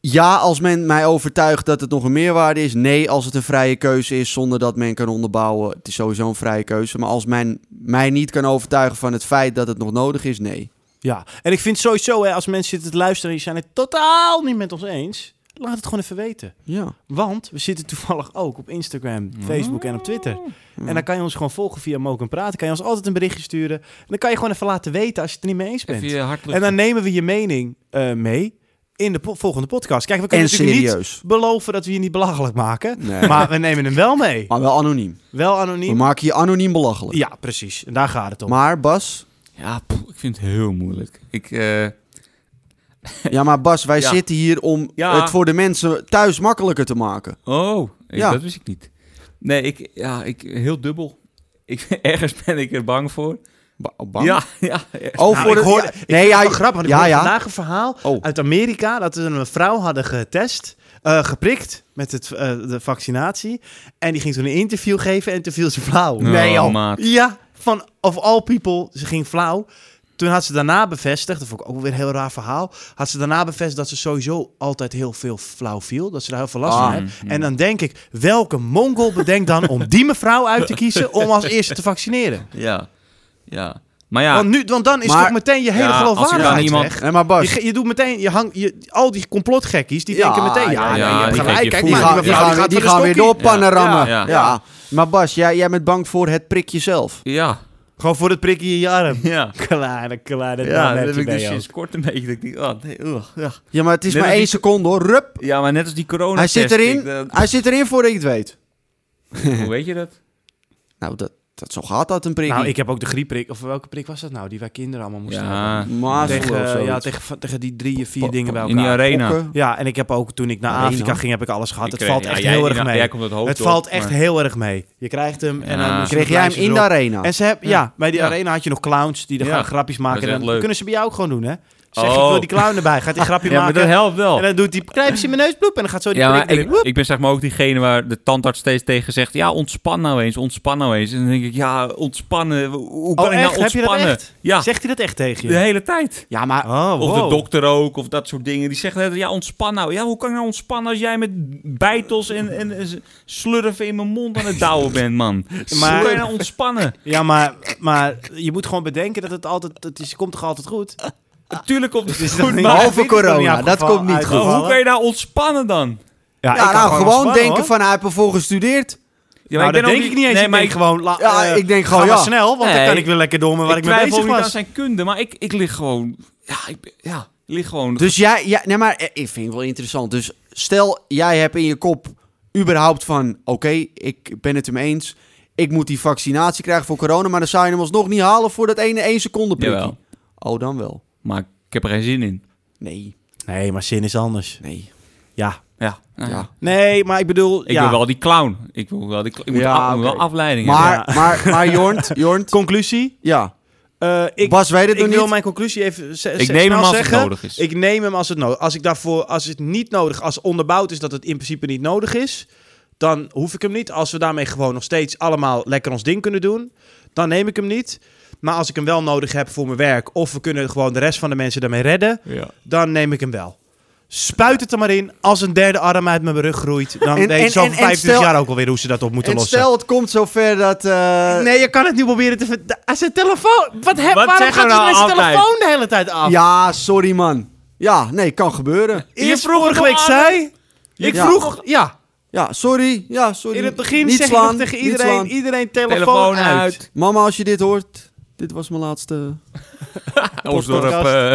Speaker 2: Ja, als men mij overtuigt dat het nog een meerwaarde is. Nee, als het een vrije keuze is zonder dat men kan onderbouwen. Het is sowieso een vrije keuze. Maar als men mij niet kan overtuigen van het feit dat het nog nodig is, nee.
Speaker 1: Ja, en ik vind sowieso, hè, als mensen zitten te luisteren en die zijn het totaal niet met ons eens, laat het gewoon even weten.
Speaker 2: Ja.
Speaker 1: Want we zitten toevallig ook op Instagram, Facebook en op Twitter. En dan kan je ons gewoon volgen via Moken en Praten. Kan je ons altijd een berichtje sturen. En dan kan je gewoon even laten weten als je het er niet mee eens bent.
Speaker 4: Even je hart
Speaker 1: En dan nemen we je mening eh, mee in de po- volgende podcast. Kijk, we kunnen
Speaker 2: En
Speaker 1: natuurlijk
Speaker 2: serieus.
Speaker 1: niet beloven dat we je niet belachelijk maken.
Speaker 2: Nee.
Speaker 1: Maar we nemen hem wel mee.
Speaker 2: Maar wel anoniem.
Speaker 1: Wel
Speaker 2: We
Speaker 1: anoniem.
Speaker 2: maken je anoniem belachelijk.
Speaker 1: Ja, precies. En daar gaat het om.
Speaker 2: Maar Bas,
Speaker 4: Ja, poeh, ik vind het heel moeilijk. Ik, eh,
Speaker 2: ja maar Bas, wij
Speaker 4: Ja.
Speaker 2: zitten hier om
Speaker 4: Ja.
Speaker 2: het voor de mensen thuis makkelijker te maken.
Speaker 4: oh, ik-
Speaker 2: Ja.
Speaker 4: dat wist ik niet. Nee, ik, ja, ik, heel dubbel. Ik, ergens ben ik er bang voor.
Speaker 2: Ba- bang?
Speaker 4: Ja, ja.
Speaker 2: Oh,
Speaker 1: Nou,
Speaker 2: voor
Speaker 1: ik
Speaker 2: de...
Speaker 1: hoorde,
Speaker 2: ja,
Speaker 1: ik
Speaker 2: nee,
Speaker 1: vind
Speaker 2: ja,
Speaker 1: het wel grappig, want ik
Speaker 2: ja,
Speaker 1: hoorde
Speaker 2: ja.
Speaker 1: vandaag een verhaal
Speaker 2: Oh.
Speaker 1: uit Amerika dat ze een vrouw hadden getest, eh, geprikt met het, eh, de vaccinatie. En die ging toen een interview geven en toen viel ze flauw.
Speaker 4: Nee, Oh, joh. maat.
Speaker 1: Ja, van of all people, ze ging flauw. Toen had ze daarna bevestigd, dat vond ik ook weer een heel raar verhaal, had ze daarna bevestigd dat ze sowieso altijd heel veel flauw viel, dat ze daar heel veel last van
Speaker 2: Ah,
Speaker 1: heeft. En dan denk ik, welke mongol bedenkt dan om die mevrouw uit te kiezen om als eerste te vaccineren?
Speaker 4: Ja, ja. Maar ja,
Speaker 1: Want, nu, want dan is
Speaker 2: Maar-
Speaker 1: toch meteen je hele
Speaker 4: Ja, als er dan
Speaker 1: geloofwaardigheid
Speaker 4: iemand-
Speaker 1: weg.
Speaker 2: Nee, maar Bas...
Speaker 1: Je, ge- je doet meteen, je hang, je, al die complotgekkies, die
Speaker 2: Ja,
Speaker 1: denken meteen, ja,
Speaker 2: ja,
Speaker 1: nee,
Speaker 4: ja,
Speaker 1: je hebt
Speaker 4: die
Speaker 1: gelijk,
Speaker 4: geef je
Speaker 1: kijk,
Speaker 2: die
Speaker 1: maar
Speaker 4: voer.
Speaker 2: gaan,
Speaker 1: mevrouw,
Speaker 2: die gaan,
Speaker 1: gaat
Speaker 2: die
Speaker 1: voor de
Speaker 2: gaan weer
Speaker 1: stokkie.
Speaker 2: door pannen
Speaker 4: Ja.
Speaker 2: rammen. Ja,
Speaker 4: Ja.
Speaker 2: Maar Bas, jij, jij bent bang voor het prikje zelf.
Speaker 4: ja.
Speaker 1: Gewoon voor het prikken in je arm.
Speaker 4: Ja,
Speaker 1: Klaar, klaar. Dat
Speaker 4: ja
Speaker 1: heb
Speaker 4: dat heb
Speaker 1: je
Speaker 4: ik
Speaker 1: bij
Speaker 4: dus
Speaker 1: jou.
Speaker 4: sinds kort een beetje. Dat ik denk, oh, nee, ugh, ja.
Speaker 2: Ja, maar het is
Speaker 4: Net
Speaker 2: maar
Speaker 4: als die-
Speaker 2: één seconde hoor. Rup.
Speaker 4: ja, maar net als die corona
Speaker 2: Hij zit erin.
Speaker 4: eh,
Speaker 2: Hij zit erin voordat je het weet.
Speaker 4: hoe weet je dat?
Speaker 2: Nou, dat, dat, zo gaat dat een prikkie.
Speaker 1: Nou, ik heb ook de griepprik. Of welke prik was dat nou? Die wij kinderen allemaal moesten
Speaker 4: Ja,
Speaker 1: hebben.
Speaker 2: Mazelen of
Speaker 1: Tegen, eh,
Speaker 2: zoiets.
Speaker 1: ja, tegen, tegen die drie, vier
Speaker 4: Pa-
Speaker 1: dingen bij
Speaker 4: pa-
Speaker 1: elkaar.
Speaker 4: in die arena.
Speaker 2: Pokken.
Speaker 1: Ja, en ik heb ook toen ik naar
Speaker 2: Arena.
Speaker 1: Afrika ging, heb ik alles gehad.
Speaker 4: Ik
Speaker 1: het
Speaker 4: weet-
Speaker 1: valt
Speaker 4: ja,
Speaker 1: echt
Speaker 4: jij-
Speaker 1: heel erg
Speaker 4: ja, nou,
Speaker 1: mee.
Speaker 4: jij komt het hoofd
Speaker 1: het
Speaker 4: op,
Speaker 1: valt echt
Speaker 4: maar-
Speaker 1: heel erg mee. Je krijgt hem en
Speaker 4: Ja.
Speaker 1: dan moest je
Speaker 2: Kreeg jij hem
Speaker 1: lijstjes
Speaker 2: in de
Speaker 1: erop.
Speaker 2: arena?
Speaker 1: En ze hebben, ja. bij die
Speaker 4: Ja.
Speaker 1: arena had je nog clowns die er
Speaker 4: Ja.
Speaker 1: gewoon grapjes maken.
Speaker 4: Dat is
Speaker 1: en
Speaker 4: echt
Speaker 1: dan
Speaker 4: leuk.
Speaker 1: kunnen ze bij jou ook gewoon doen, hè? Zeg je, ik
Speaker 4: Oh.
Speaker 1: wil die clown erbij. Gaat die grapje
Speaker 4: Ja, maar dat
Speaker 1: maken.
Speaker 4: helpt wel.
Speaker 1: En dan doet die knijpjes in mijn neus, bloep. En dan gaat zo die
Speaker 4: Ja, maar
Speaker 1: prik erin.
Speaker 4: ik, ik ben zeg maar ook diegene waar de tandarts steeds tegen zegt... Ja, ontspan nou eens, ontspan nou eens. En dan denk ik, ja, ontspannen. Hoe hoe kan
Speaker 1: Oh,
Speaker 4: ik nou
Speaker 1: echt? Heb je dat
Speaker 4: ontspannen?
Speaker 1: echt?
Speaker 4: Ja,
Speaker 1: Zegt hij dat echt tegen
Speaker 4: de
Speaker 1: je?
Speaker 4: hele tijd.
Speaker 2: Ja, maar
Speaker 1: Oh,
Speaker 4: Of
Speaker 1: wow.
Speaker 4: de dokter ook, of dat soort dingen. Die zeggen net, ja, ontspan nou. Ja, hoe kan ik nou ontspannen als jij met bijtels en, en, en s- slurven in mijn mond aan het douwen bent, man?
Speaker 1: Maar-
Speaker 4: Hoe kan je nou ontspannen?
Speaker 1: Ja, maar, maar je moet gewoon bedenken dat het altijd... Het is, komt toch altijd goed?
Speaker 4: Natuurlijk komt het
Speaker 1: Dus
Speaker 4: goed,
Speaker 1: dan-
Speaker 4: maar
Speaker 1: Ja,
Speaker 2: Behalve
Speaker 1: dit is toch
Speaker 2: corona,
Speaker 1: niet afgevallen-
Speaker 2: dat komt niet goed.
Speaker 4: oh,
Speaker 1: uitgevallen?
Speaker 4: hoe kan je nou ontspannen dan?
Speaker 1: Ja, ik
Speaker 2: ja,
Speaker 1: kan
Speaker 2: nou, gewoon
Speaker 1: ontspannen,
Speaker 2: denken
Speaker 1: hoor.
Speaker 2: van hij heeft ervoor gestudeerd.
Speaker 4: Ja,
Speaker 1: nou,
Speaker 4: ben
Speaker 1: dat
Speaker 4: ook
Speaker 1: denk ik niet eens.
Speaker 4: Nee,
Speaker 1: ik
Speaker 4: maar
Speaker 1: denk
Speaker 4: ik,
Speaker 1: gewoon... la-
Speaker 2: Ja,
Speaker 1: eh,
Speaker 2: ik denk
Speaker 1: ga
Speaker 2: gewoon,
Speaker 1: maar
Speaker 2: ja.
Speaker 1: snel, want dan
Speaker 4: Nee.
Speaker 1: kan ik weer lekker door met waar ik,
Speaker 4: ik
Speaker 1: mee
Speaker 4: twijfel
Speaker 1: bezig
Speaker 4: niet aan
Speaker 1: was.
Speaker 4: zijn kunde, maar ik, ik lig gewoon... Ja, ik, ben- ja, ik lig gewoon...
Speaker 2: Dus jij, ja, nee, maar eh, ik vind het wel interessant. Dus stel, jij hebt in je kop überhaupt van, oké, ik ben het hem eens. Ik moet die vaccinatie krijgen voor corona, maar dan zou je hem alsnog niet halen voor dat ene 1 seconde prikkie.
Speaker 4: Jawel.
Speaker 2: Oh, dan wel.
Speaker 4: Maar ik heb er geen zin in.
Speaker 2: Nee,
Speaker 1: Nee, maar zin is anders.
Speaker 2: nee,
Speaker 1: Ja.
Speaker 4: Ja, nou ja.
Speaker 2: ja.
Speaker 1: Nee, maar ik bedoel...
Speaker 4: Ik
Speaker 1: ja.
Speaker 4: wil wel die clown. Ik wil wel, die cl- ik moet
Speaker 2: Ja,
Speaker 4: af- ik moet
Speaker 2: oké.
Speaker 4: wel afleiding hebben.
Speaker 2: Maar, maar, maar Jornt, Jornt,
Speaker 1: Conclusie?
Speaker 2: ja.
Speaker 1: Eh, ik
Speaker 2: Bas weet het
Speaker 1: ik
Speaker 2: nog
Speaker 1: wil
Speaker 2: niet.
Speaker 1: mijn conclusie even ze-
Speaker 4: Ik
Speaker 1: ze-
Speaker 4: neem
Speaker 1: snel
Speaker 4: hem als het
Speaker 1: zeggen.
Speaker 4: nodig is.
Speaker 1: Ik neem hem als het nodig Als ik daarvoor, als het niet nodig, als onderbouwd is dat het in principe niet nodig is, dan hoef ik hem niet. Als we daarmee gewoon nog steeds allemaal lekker ons ding kunnen doen, dan neem ik hem niet. Maar als ik hem wel nodig heb voor mijn werk, of we kunnen gewoon de rest van de mensen daarmee redden,
Speaker 4: Ja.
Speaker 1: dan neem ik hem wel. Spuit het er maar in. Als een derde arm uit mijn rug groeit, dan
Speaker 2: En-
Speaker 1: weet ik
Speaker 2: en-
Speaker 1: zo
Speaker 2: en- en
Speaker 1: 25
Speaker 2: stel-
Speaker 1: jaar ook alweer hoe ze dat op moeten
Speaker 2: En
Speaker 1: lossen.
Speaker 2: stel, het komt zover dat... eh,
Speaker 1: Nee, je kan het niet proberen te... ver- Da- Als zijn telefoon... Wat heb,
Speaker 4: Wat
Speaker 1: waarom
Speaker 4: zeggen
Speaker 1: gaat hij
Speaker 4: we nou
Speaker 1: met zijn
Speaker 4: altijd?
Speaker 1: telefoon de hele tijd af?
Speaker 2: Ja, sorry man. Ja, nee, kan gebeuren.
Speaker 1: Je vroeg vorige week zei... Ik
Speaker 2: Ja.
Speaker 1: vroeg... Ja,
Speaker 2: Ja, sorry. Ja, sorry.
Speaker 1: in het begin
Speaker 2: Niet
Speaker 1: zeg
Speaker 2: slaan,
Speaker 1: ik nog tegen
Speaker 2: niet slaan.
Speaker 1: iedereen... Iedereen telefoon,
Speaker 4: Telefoon
Speaker 1: uit.
Speaker 4: uit.
Speaker 2: Mama, als je dit hoort, dit was mijn laatste.
Speaker 4: Osdorp, eh,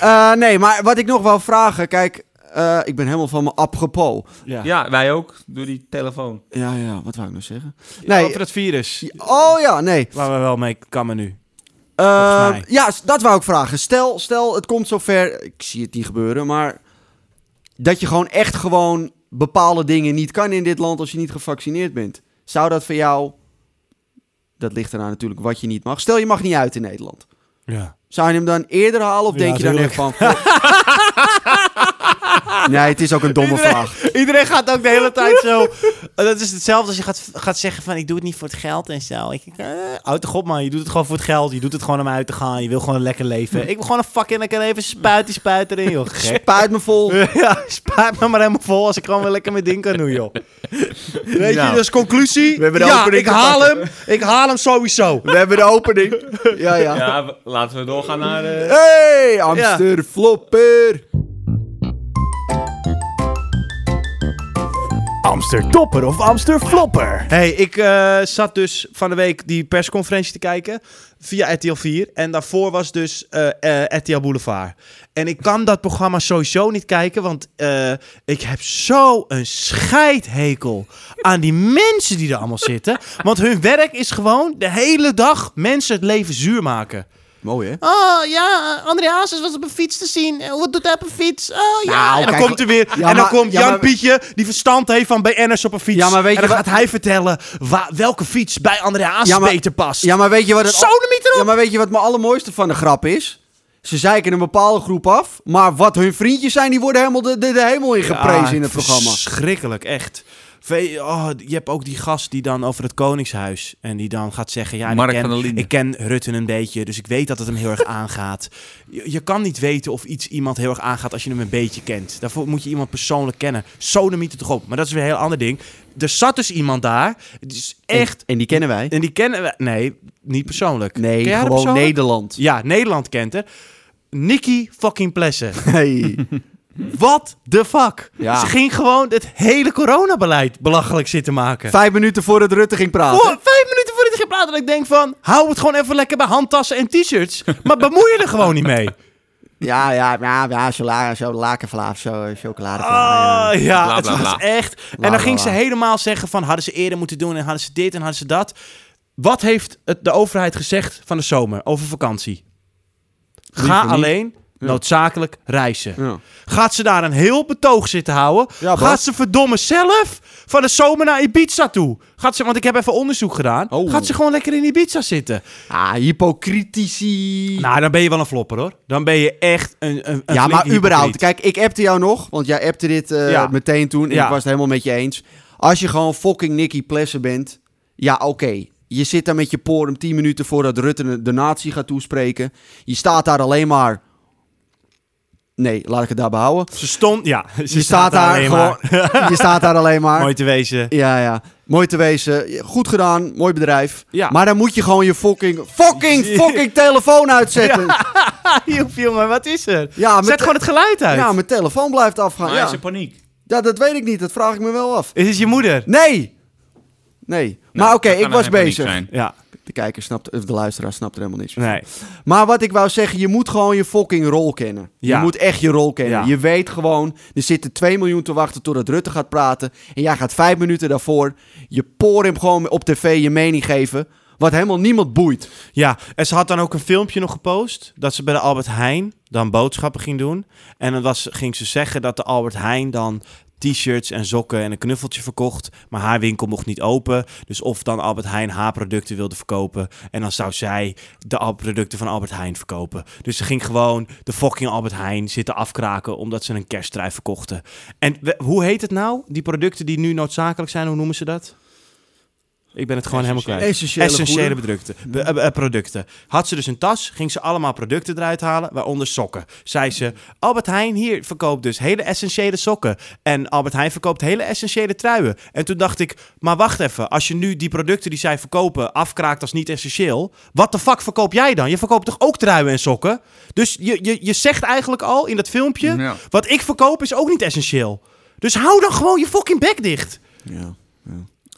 Speaker 2: Eh, nee, maar wat ik nog wou vragen, kijk, eh, ik ben helemaal van mijn apropos.
Speaker 1: Ja.
Speaker 4: ja, wij ook. Door die telefoon.
Speaker 2: Ja, ja, wat wou ik nou zeggen?
Speaker 1: Nee.
Speaker 2: Nee.
Speaker 1: Over het virus.
Speaker 2: Oh ja, nee.
Speaker 1: Waar we wel mee kammen nu.
Speaker 2: Eh,
Speaker 1: Volgens mij.
Speaker 2: ja, s- dat wou ik vragen. Stel, stel, het komt zover. Ik zie het niet gebeuren, maar dat je gewoon echt gewoon bepaalde dingen niet kan in dit land als je niet gevaccineerd bent. Zou dat voor jou? Dat ligt eraan natuurlijk wat je niet mag. Stel, je mag niet uit in Nederland.
Speaker 1: Ja.
Speaker 2: Zou je hem dan eerder halen
Speaker 1: Ja,
Speaker 2: of denk je dan
Speaker 1: tuurlijk.
Speaker 2: echt van... "Fuck." nee, het is ook een domme
Speaker 1: Iedereen-
Speaker 2: vraag.
Speaker 1: Iedereen gaat ook de hele tijd zo... Dat is hetzelfde als je gaat, gaat zeggen van... Ik doe het niet voor het geld en zo. Ik, eh, houd toch op man, je doet het gewoon voor het geld. Je doet het gewoon om uit te gaan. Je wil gewoon een lekker leven. Ik wil gewoon een fucking lekker leven. Spuit die spuit erin joh. Gek.
Speaker 2: Spuit me vol.
Speaker 1: Ja, spaart me maar helemaal vol als ik gewoon weer lekker mijn ding kan doen, joh. Weet
Speaker 2: Nou.
Speaker 1: je, dat is conclusie.
Speaker 2: We hebben de
Speaker 1: ja,
Speaker 2: opening
Speaker 1: ik
Speaker 2: te
Speaker 1: haal
Speaker 2: pakken.
Speaker 1: hem. Ik haal hem sowieso.
Speaker 2: We hebben de opening. Ja, ja.
Speaker 4: Ja, w- laten we doorgaan naar... eh,
Speaker 2: Hey, Amsterflopper.
Speaker 3: Amsterdopper of Amsterflopper?
Speaker 1: hey, ik eh, zat dus van de week die persconferentie te kijken via RTL 4. En daarvoor was dus eh, eh, RTL Boulevard. En ik kan dat programma sowieso niet kijken, want eh, ik heb zo'n scheidhekel aan die mensen die er allemaal zitten. Want hun werk is gewoon de hele dag mensen het leven zuur maken.
Speaker 2: Mooi, hè?
Speaker 1: Oh ja, André Hazes was op een fiets te zien. Eh, Wat doet hij op een fiets? Oh ja.
Speaker 2: Nou,
Speaker 1: en dan
Speaker 2: kijk,
Speaker 1: komt er weer.
Speaker 2: ja,
Speaker 1: en dan
Speaker 2: maar-
Speaker 1: komt
Speaker 2: ja,
Speaker 1: Jan
Speaker 2: maar-
Speaker 1: Pietje, die verstand heeft van BN'ers op een fiets.
Speaker 2: Ja, maar weet
Speaker 1: en dan
Speaker 2: je wat-
Speaker 1: gaat hij vertellen wa- welke fiets bij André Hazes
Speaker 2: Ja, maar-
Speaker 1: beter past.
Speaker 2: Ja, maar weet je wat het...
Speaker 1: Sodemiet erop!
Speaker 2: Ja, maar weet je wat mijn allermooiste van de grap is? Ze zeiken een bepaalde groep af, maar wat hun vriendjes zijn, die worden helemaal de, de, de hemel in geprezen in het programma.
Speaker 1: Schrikkelijk, echt. Ve- oh, je hebt ook die gast die dan over het Koningshuis. En die dan gaat zeggen: Ja, en
Speaker 4: Mark
Speaker 1: ik,
Speaker 4: van der
Speaker 1: ken,
Speaker 4: Linden.
Speaker 1: ik ken Rutten een beetje. Dus ik weet dat het hem heel erg aangaat. Je, je kan niet weten of iets iemand heel erg aangaat als je hem een beetje kent. Daarvoor moet je iemand persoonlijk kennen. Sodomiet het toch op. Maar dat is weer een heel ander ding. Er zat dus iemand daar. Het is echt.
Speaker 2: En, en die kennen wij.
Speaker 1: En die kennen we. Nee, niet persoonlijk.
Speaker 2: Nee,
Speaker 1: Ken jij haar
Speaker 2: gewoon
Speaker 1: persoonlijk?
Speaker 2: Nederland.
Speaker 1: Ja, Nederland kent er. Nikki fucking Plessen.
Speaker 2: Hey.
Speaker 1: What the fuck?
Speaker 2: Ja.
Speaker 1: Ze ging gewoon het hele coronabeleid belachelijk zitten maken.
Speaker 2: Vijf minuten voor het Rutte ging praten.
Speaker 1: Voor- vijf minuten voordat 20 jaar praten dat ik denk van... Hou het gewoon even lekker bij handtassen en t-shirts. Maar bemoei je er gewoon niet mee.
Speaker 2: Ja, ja, ja, ja, chocola, zo lakenvla, zo chocolade.
Speaker 1: Oh, ja,
Speaker 4: Bla,
Speaker 1: het
Speaker 4: bla,
Speaker 1: was
Speaker 4: bla.
Speaker 1: echt... en
Speaker 2: bla,
Speaker 1: dan ging ze
Speaker 2: bla.
Speaker 1: helemaal zeggen van... Hadden ze eerder moeten doen en hadden ze dit en hadden ze dat. Wat heeft het, de overheid gezegd van de zomer over vakantie? Ga
Speaker 2: Liever niet.
Speaker 1: alleen noodzakelijk reizen.
Speaker 2: Ja.
Speaker 1: Gaat ze daar een heel betoog zitten houden?
Speaker 2: Ja, Bas.
Speaker 1: gaat ze verdomme zelf van de zomer naar Ibiza toe? Gaat ze, want ik heb even onderzoek gedaan.
Speaker 2: Oh.
Speaker 1: Gaat ze gewoon lekker in Ibiza zitten?
Speaker 2: Ah, hypocritici.
Speaker 1: Nou, dan ben je wel een flopper hoor. Dan ben je echt een. een, een
Speaker 2: ja, maar
Speaker 1: flinke
Speaker 2: überhaupt.
Speaker 1: hypocriet.
Speaker 2: Kijk, ik appte jou nog, want jij appte dit eh,
Speaker 1: Ja.
Speaker 2: meteen toen. En
Speaker 1: Ja.
Speaker 2: ik was het helemaal met je eens. Als je gewoon fucking Nicky Plessen bent, ja, oké. Je zit daar met je porum 10 minuten voordat Rutte de natie gaat toespreken. Je staat daar alleen maar. Nee, laat ik het daarbij houden.
Speaker 1: Ze stond. Ja, ze
Speaker 2: je staat daar
Speaker 1: alleen
Speaker 2: gewoon.
Speaker 1: maar.
Speaker 2: je staat daar alleen maar.
Speaker 1: Mooi te wezen.
Speaker 2: Ja, ja. Mooi te wezen. Goed gedaan. Mooi bedrijf.
Speaker 1: Ja.
Speaker 2: Maar dan moet je gewoon je fucking, fucking, fucking telefoon uitzetten. Ja,
Speaker 1: Joep, jongen, wat is er?
Speaker 2: mijn
Speaker 1: Zet
Speaker 2: te-
Speaker 1: gewoon het geluid uit.
Speaker 2: Ja, mijn telefoon blijft afgaan.
Speaker 4: Maar hij
Speaker 2: Ja.
Speaker 4: is in paniek.
Speaker 2: ja, dat weet ik niet. Dat vraag ik me wel af.
Speaker 1: Is het je moeder?
Speaker 2: Nee! Nee. maar
Speaker 4: Nou,
Speaker 2: oké,
Speaker 4: dan
Speaker 2: ik
Speaker 4: kan
Speaker 2: was
Speaker 4: hij in paniek
Speaker 2: bezig.
Speaker 4: zijn.
Speaker 1: Ja,
Speaker 2: De kijker snapt, of de luisteraar snapt er helemaal niks van.
Speaker 1: nee.
Speaker 2: Maar wat ik wou zeggen, je moet gewoon je fucking rol kennen.
Speaker 1: Ja.
Speaker 2: Je moet echt je rol kennen.
Speaker 1: Ja.
Speaker 2: Je weet gewoon, er zitten 2 miljoen te wachten totdat Rutte gaat praten. En jij gaat vijf minuten daarvoor je hem gewoon op tv je mening geven. Wat helemaal niemand boeit.
Speaker 1: Ja, en ze had dan ook een filmpje nog gepost. Dat ze bij de Albert Heijn dan boodschappen ging doen. En dan was, ging ze zeggen dat de Albert Heijn dan t-shirts en sokken en een knuffeltje verkocht. Maar haar winkel mocht niet open. Dus of dan Albert Heijn haar producten wilde verkopen. En dan zou zij de al- producten van Albert Heijn verkopen. Dus ze ging gewoon de fucking Albert Heijn zitten afkraken. Omdat ze een kerstdrijf verkochten. En we- hoe heet het nou? Die producten die nu noodzakelijk zijn, hoe noemen ze dat? Ik ben het gewoon helemaal kwijt.
Speaker 2: Essentiële
Speaker 1: Essentiële
Speaker 2: goederen.
Speaker 1: producten, be- eh, eh, producten. Had ze dus een tas, ging ze allemaal producten eruit halen, waaronder sokken. Zei ze, Albert Heijn hier verkoopt dus hele essentiële sokken. En Albert Heijn verkoopt hele essentiële truien. En toen dacht ik, maar wacht even. Als je nu die producten die zij verkopen afkraakt als niet essentieel... wat de fuck verkoop jij dan? Je verkoopt toch ook truien en sokken? Dus je, je, je zegt eigenlijk al in dat filmpje...
Speaker 4: Ja.
Speaker 1: wat ik verkoop is ook niet essentieel. Dus hou dan gewoon je fucking bek dicht.
Speaker 2: Ja.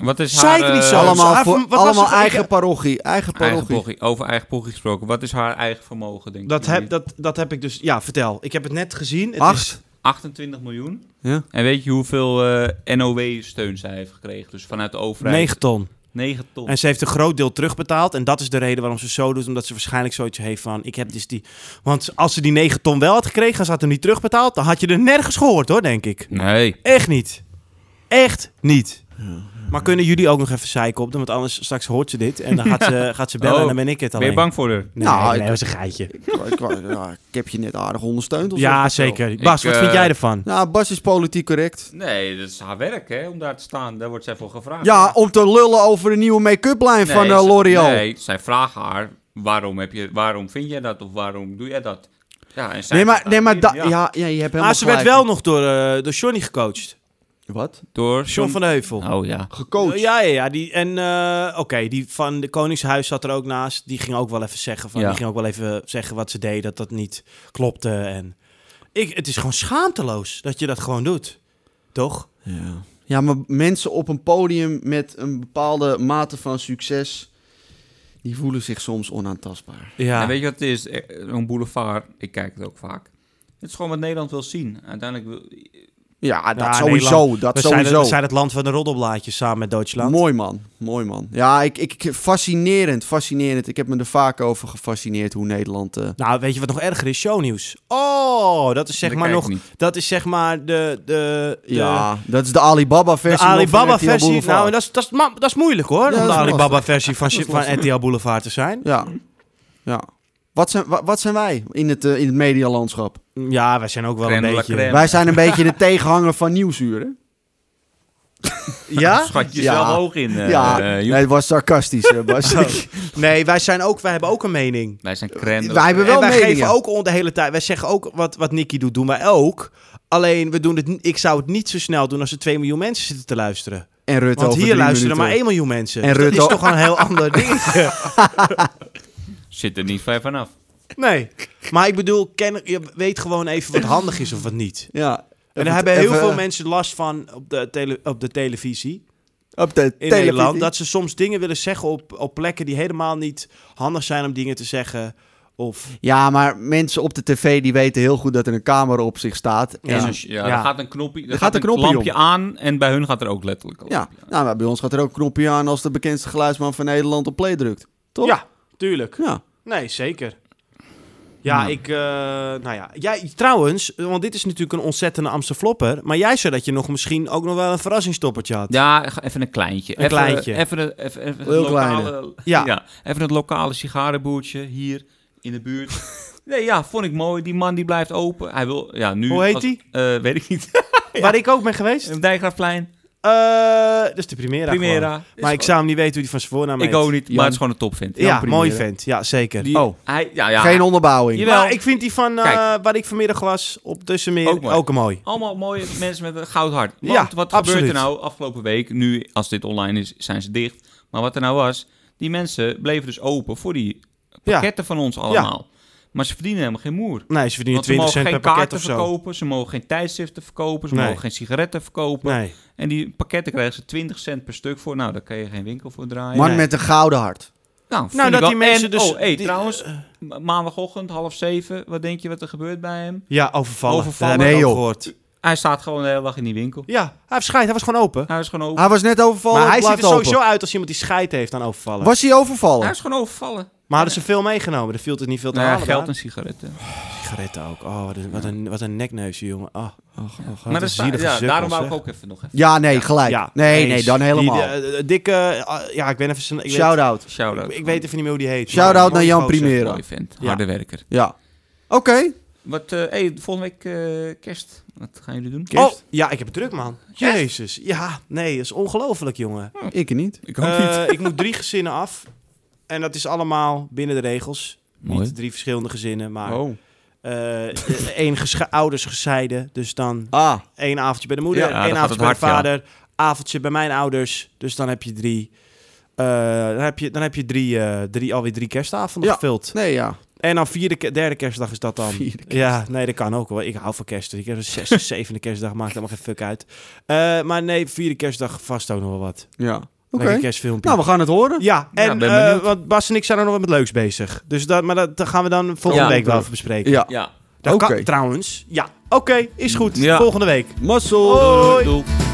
Speaker 4: Wat is haar,
Speaker 1: Zeik niet
Speaker 4: eh,
Speaker 1: zo.
Speaker 2: allemaal
Speaker 1: Haar-
Speaker 2: voor,
Speaker 1: dus wat was
Speaker 2: allemaal
Speaker 1: het? Ik-
Speaker 2: eigen parochie. Eigen
Speaker 4: eigen
Speaker 2: parochie.
Speaker 4: pogie- over eigen pogie gesproken. Wat is haar eigen vermogen, denk
Speaker 1: Dat
Speaker 4: ik?
Speaker 1: heb, dat, dat heb ik dus... Ja, vertel. Ik heb het net gezien. Het is-
Speaker 2: Acht.
Speaker 4: 28 miljoen.
Speaker 2: Ja.
Speaker 4: En weet je hoeveel eh, NOW-steun zij heeft gekregen? Dus vanuit de overheid.
Speaker 1: 9 ton.
Speaker 4: 9 ton.
Speaker 1: En ze heeft een groot deel terugbetaald. En dat is de reden waarom ze zo doet. Omdat ze waarschijnlijk zoiets heeft van... Ik heb dus die... Want als ze die 9 ton wel had gekregen... en ze had hem niet terugbetaald... dan had je er nergens gehoord hoor, denk ik.
Speaker 4: Nee.
Speaker 1: Echt niet. Echt niet. Maar kunnen jullie ook nog even zeiken op? doen? Want anders straks hoort ze dit. En dan gaat ze, gaat ze bellen
Speaker 4: Oh,
Speaker 1: en dan ben ik het
Speaker 4: Ben
Speaker 1: alleen.
Speaker 4: je bang voor haar?
Speaker 1: Nee,
Speaker 2: Nou,
Speaker 1: nee,
Speaker 2: ik-
Speaker 1: dat is een geitje.
Speaker 2: Ik, wou- ik wou- ja, ik heb je net aardig ondersteund. Of zo.
Speaker 1: Ja, zeker. Bas,
Speaker 4: Ik,
Speaker 1: wat
Speaker 4: eh,
Speaker 1: vind jij ervan?
Speaker 2: Nou, Bas is politiek correct.
Speaker 4: Nee, dat is haar werk, hè? Om daar te staan. Daar wordt zij voor gevraagd.
Speaker 2: Ja, om te lullen over de nieuwe make-up lijn
Speaker 4: Nee,
Speaker 2: van eh,
Speaker 4: ze-
Speaker 2: L'Oreal. Nee,
Speaker 4: Nee, zij vragen haar: waarom, heb je, waarom vind jij dat? Of waarom doe jij dat? Ja, en zij
Speaker 2: maar, nee, maar da-
Speaker 4: Ja.
Speaker 2: ja. ja, je hebt helemaal
Speaker 1: Maar Ah, ze werd
Speaker 2: gelijk.
Speaker 1: wel nog door, eh, door Johnny gecoacht.
Speaker 2: Wat?
Speaker 4: Door
Speaker 1: John van de Heuvel.
Speaker 4: Oh ja.
Speaker 2: Gecoacht.
Speaker 1: Ja, ja, ja. Die, en eh, oké, die van de Koningshuis zat er ook naast. Die ging ook wel even zeggen van,
Speaker 4: Ja.
Speaker 1: die ging ook wel even zeggen wat ze deed, dat dat niet klopte. En ik, het is gewoon schaamteloos dat je dat gewoon doet, toch?
Speaker 2: Ja. ja, maar mensen op een podium met een bepaalde mate van succes... die voelen zich soms onaantastbaar.
Speaker 1: Ja.
Speaker 4: En weet je wat het is? Eh, Een boulevard, ik kijk het ook vaak. Het is gewoon wat Nederland wil zien. Uiteindelijk wil...
Speaker 2: Ja, dat
Speaker 1: Ja,
Speaker 2: sowieso.
Speaker 1: Nederland.
Speaker 2: Dat
Speaker 1: we
Speaker 2: sowieso.
Speaker 1: Zijn, het- we zijn het land van de roddelblaadjes samen met Duitsland.
Speaker 2: Mooi man, mooi man. Ja, ik, ik, ik- fascinerend, fascinerend. Ik heb me er vaak over gefascineerd hoe Nederland... eh,
Speaker 1: Nou, weet je wat nog erger is? Shownieuws. Oh, dat is zeg
Speaker 4: Dat
Speaker 1: maar
Speaker 4: kijk
Speaker 1: nog...
Speaker 4: ik niet.
Speaker 1: Dat is zeg maar de... de, de
Speaker 2: ja, dat is de Alibaba-versie.
Speaker 1: De
Speaker 2: nog van RTL
Speaker 1: Alibaba-versie,
Speaker 2: Boulevard.
Speaker 1: nou, en dat is, dat, is, ma- dat is moeilijk hoor, om
Speaker 2: Ja, dat
Speaker 1: de
Speaker 2: is lastig.
Speaker 1: Alibaba-versie van,
Speaker 2: is
Speaker 1: van RTL Boulevard te zijn.
Speaker 2: Ja, ja. Wat zijn, wa- wat zijn wij in het, eh, in het medialandschap?
Speaker 1: Ja, wij zijn ook wel
Speaker 4: Crème de
Speaker 1: een
Speaker 4: la
Speaker 1: beetje...
Speaker 4: crème. Ja.
Speaker 2: Wij zijn een beetje de tegenhanger van Nieuwsuur, hè?
Speaker 1: Ja?
Speaker 4: Schat je
Speaker 2: Ah. Ja.
Speaker 4: zelf hoog in. eh,
Speaker 2: ja,
Speaker 4: eh, joh.
Speaker 2: nee, het was sarcastisch, hè, Bas.
Speaker 1: Oh. Nee, wij, zijn ook, wij hebben ook een mening.
Speaker 4: Wij zijn crème.
Speaker 2: wij hebben wel
Speaker 1: en wij
Speaker 2: meningen.
Speaker 1: geven ook on- de hele tijd. Wij zeggen ook wat, wat Nicky doet, doen wij ook. Alleen, we doen het, ni- ik zou het niet zo snel doen als er 2 miljoen mensen zitten te luisteren.
Speaker 2: En Rutte
Speaker 1: Want
Speaker 2: over
Speaker 1: hier
Speaker 2: drie
Speaker 1: luisteren maar
Speaker 2: minuten.
Speaker 1: 1 miljoen mensen.
Speaker 2: En
Speaker 1: Dus
Speaker 2: Rutte-
Speaker 1: dat is toch wel een heel ander dingetje.
Speaker 4: Zit er niet ver vanaf.
Speaker 1: Nee. Maar ik bedoel, ken, je weet gewoon even wat handig is of wat niet.
Speaker 2: Ja.
Speaker 1: En
Speaker 2: Even- eh,
Speaker 1: daar hebben heel
Speaker 2: even-
Speaker 1: veel mensen last van op de, tele- op de televisie.
Speaker 2: Op de
Speaker 1: in
Speaker 2: televisie.
Speaker 1: Nederland. Dat ze soms dingen willen zeggen op, op plekken die helemaal niet handig zijn om dingen te zeggen. Of
Speaker 2: Ja, maar mensen op de tv die weten heel goed dat er een camera op zich staat.
Speaker 1: Ja.
Speaker 2: En-
Speaker 4: Dus als je- ja,
Speaker 1: Ja.
Speaker 4: Er gaat een knopje, er
Speaker 2: gaat
Speaker 4: gaat,
Speaker 2: een
Speaker 4: een
Speaker 2: knopje
Speaker 4: lampje aan en bij hun gaat er ook letterlijk een
Speaker 2: Ja,
Speaker 4: lampje aan.
Speaker 2: nou, maar bij ons gaat er ook een knopje aan als de bekendste geluidsman van Nederland op play drukt. Toch?
Speaker 1: ja, tuurlijk.
Speaker 2: Ja.
Speaker 1: Nee, zeker. Ja, ik. eh, nou ja, jij trouwens, want dit is natuurlijk een ontzettende Amsterflopper. Maar jij zei dat je nog misschien ook nog wel een verrassingstoppertje had.
Speaker 4: Ja, ga- even een kleintje.
Speaker 1: Een
Speaker 4: even,
Speaker 1: kleintje.
Speaker 4: Even, een- even, even
Speaker 2: Heel
Speaker 4: het lokale,
Speaker 1: Ja.
Speaker 4: ja. even het lokale sigarenboertje hier in de buurt. nee, ja, vond ik mooi. Die man die blijft open. Hij wil, ja, nu...
Speaker 1: Hoe heet
Speaker 4: als-
Speaker 1: die?
Speaker 4: eh, weet ik niet.
Speaker 1: Waar ik ook ben geweest.
Speaker 4: Dijkgraafplein,
Speaker 1: Eh, dat is de Primera. gewoon.
Speaker 4: Primera. Is
Speaker 1: Maar ik zou hem niet weten hoe die van zijn voornaam
Speaker 4: gewoon- Ik
Speaker 1: heet.
Speaker 4: ook niet,
Speaker 2: Jan.
Speaker 4: maar het is gewoon een topvent.
Speaker 1: Ja,
Speaker 2: Primera.
Speaker 1: mooi vent. Ja, zeker.
Speaker 4: Die-
Speaker 2: Oh.
Speaker 4: Hij, ja, ja,
Speaker 2: Geen onderbouwing.
Speaker 4: Jawel.
Speaker 1: Maar ik vind die van eh,
Speaker 4: Kijk.
Speaker 1: waar ik vanmiddag was op Tussenmeer
Speaker 4: Ook
Speaker 1: ook,
Speaker 4: mooi.
Speaker 1: mooi.
Speaker 4: Allemaal mooie mensen met een goud hart. Want
Speaker 1: Ja,
Speaker 4: wat
Speaker 1: absoluut.
Speaker 4: gebeurt er nou afgelopen week? Nu, als dit online is, zijn ze dicht. Maar wat er nou was, die mensen bleven dus open voor die pakketten van ons allemaal. Maar ze verdienen helemaal geen moer.
Speaker 1: Nee, ze verdienen
Speaker 4: Want ze
Speaker 1: 20
Speaker 4: mogen
Speaker 1: cent per
Speaker 4: geen
Speaker 1: pakket
Speaker 4: kaarten
Speaker 1: of zo.
Speaker 4: verkopen, ze mogen geen tijdschriften verkopen, ze
Speaker 1: Nee.
Speaker 4: mogen geen sigaretten verkopen.
Speaker 1: Nee.
Speaker 4: En die pakketten krijgen ze 20 cent per stuk voor. Nou, daar kan je geen winkel voor draaien.
Speaker 2: Man
Speaker 1: Nee.
Speaker 2: met een gouden hart.
Speaker 4: nou, vind
Speaker 1: Nou,
Speaker 4: ik
Speaker 1: dat
Speaker 4: wel-
Speaker 1: die mensen
Speaker 4: en-
Speaker 1: dus-
Speaker 4: Oh, hey,
Speaker 1: die-
Speaker 4: trouwens, ma- maandagochtend, half zeven, wat denk je wat er gebeurt bij hem?
Speaker 1: Ja, overvallen.
Speaker 4: Overvallen.
Speaker 1: Dat heb ik
Speaker 2: Nee,
Speaker 1: ook
Speaker 2: joh.
Speaker 1: gehoord.
Speaker 4: Hij staat gewoon de hele dag in die winkel.
Speaker 1: Ja, hij heeft scheid. Hij was gewoon open.
Speaker 4: Hij is gewoon open.
Speaker 2: Hij was net overvallen.
Speaker 1: Maar hij ziet
Speaker 2: blijft
Speaker 1: er sowieso
Speaker 2: open.
Speaker 1: uit als iemand die scheid heeft aan overvallen.
Speaker 2: Was hij overvallen?
Speaker 4: Hij is gewoon overvallen.
Speaker 1: Maar hadden ze veel meegenomen? Er viel het niet veel te
Speaker 4: Nou ja,
Speaker 1: halen.
Speaker 4: geld
Speaker 1: daar.
Speaker 4: en sigaretten.
Speaker 1: Sigaretten ook. Oh, wat een, wat een, wat een nekneusje, jongen. Oh,
Speaker 4: maar
Speaker 1: een
Speaker 4: dat sta-
Speaker 1: zielige
Speaker 4: ja,
Speaker 1: sukkel,
Speaker 4: daarom wou
Speaker 1: zeg.
Speaker 4: ik ook even nog even.
Speaker 2: Ja, nee, gelijk.
Speaker 1: ja.
Speaker 2: nee,
Speaker 1: eens.
Speaker 2: nee, dan
Speaker 1: Die-
Speaker 2: helemaal.
Speaker 1: die, eh, eh, dikke... eh, ja, ik ben even... snel- Ik weet,
Speaker 2: Shout-out.
Speaker 4: Shout-out.
Speaker 1: ik, ik weet even niet meer hoe die heet.
Speaker 2: Shout-out
Speaker 1: Maar-
Speaker 2: naar Jan
Speaker 1: gozer.
Speaker 2: Primera.
Speaker 4: Mooi vent.
Speaker 1: Ja.
Speaker 4: Harde werker.
Speaker 2: Ja. Oké.
Speaker 4: Wat, eh hey, volgende week eh, kerst. Wat gaan jullie doen?
Speaker 1: Oh, ja, ik heb het druk, man. Jezus. Ja, nee, dat is ongelooflijk, jongen.
Speaker 2: Ik niet.
Speaker 4: Ik hoop
Speaker 1: Eh,
Speaker 4: niet.
Speaker 1: ik moet drie gezinnen af. En dat is allemaal binnen de regels.
Speaker 4: Mooi.
Speaker 1: Niet drie verschillende gezinnen, maar...
Speaker 2: Oh.
Speaker 1: eh, eh, één gesche- ouders gescheiden. Dus dan
Speaker 2: Ah.
Speaker 1: één avondje bij de moeder,
Speaker 2: Ja,
Speaker 4: dan
Speaker 1: één
Speaker 4: gaat
Speaker 1: avondje bij de
Speaker 4: het hard,
Speaker 1: vader, avondje bij mijn ouders. Dus dan heb je drie. eh, dan heb je, dan heb je drie, eh, drie, alweer drie kerstavonden
Speaker 2: Ja.
Speaker 1: gevuld.
Speaker 2: Nee, ja.
Speaker 1: En dan vierde, ke- derde kerstdag is dat dan.
Speaker 2: Vierde kerst.
Speaker 1: Ja, nee, dat kan ook wel. Ik hou van kerst. dus Ik heb een zesde, zevende kerstdag, maakt helemaal geen fuck uit. Eh, maar nee, vierde kerstdag vast ook nog wel wat.
Speaker 2: Ja. Oké.
Speaker 1: Lekker kerstfilmpje.
Speaker 2: Nou, we gaan het horen.
Speaker 1: ja,
Speaker 4: Ja,
Speaker 1: en
Speaker 4: ben
Speaker 1: eh,
Speaker 4: benieuwd.
Speaker 1: want Bas en ik zijn er nog wat met leuks bezig. Dus dat, maar dat, dat gaan we dan volgende
Speaker 4: Ja.
Speaker 1: week wel even bespreken.
Speaker 2: Ja.
Speaker 4: Ja.
Speaker 1: Dat
Speaker 2: Oké.
Speaker 1: kan, trouwens. Ja, oké, is goed.
Speaker 4: Ja.
Speaker 1: Volgende week.
Speaker 2: Mazzel.
Speaker 1: Hoi.
Speaker 4: Doei.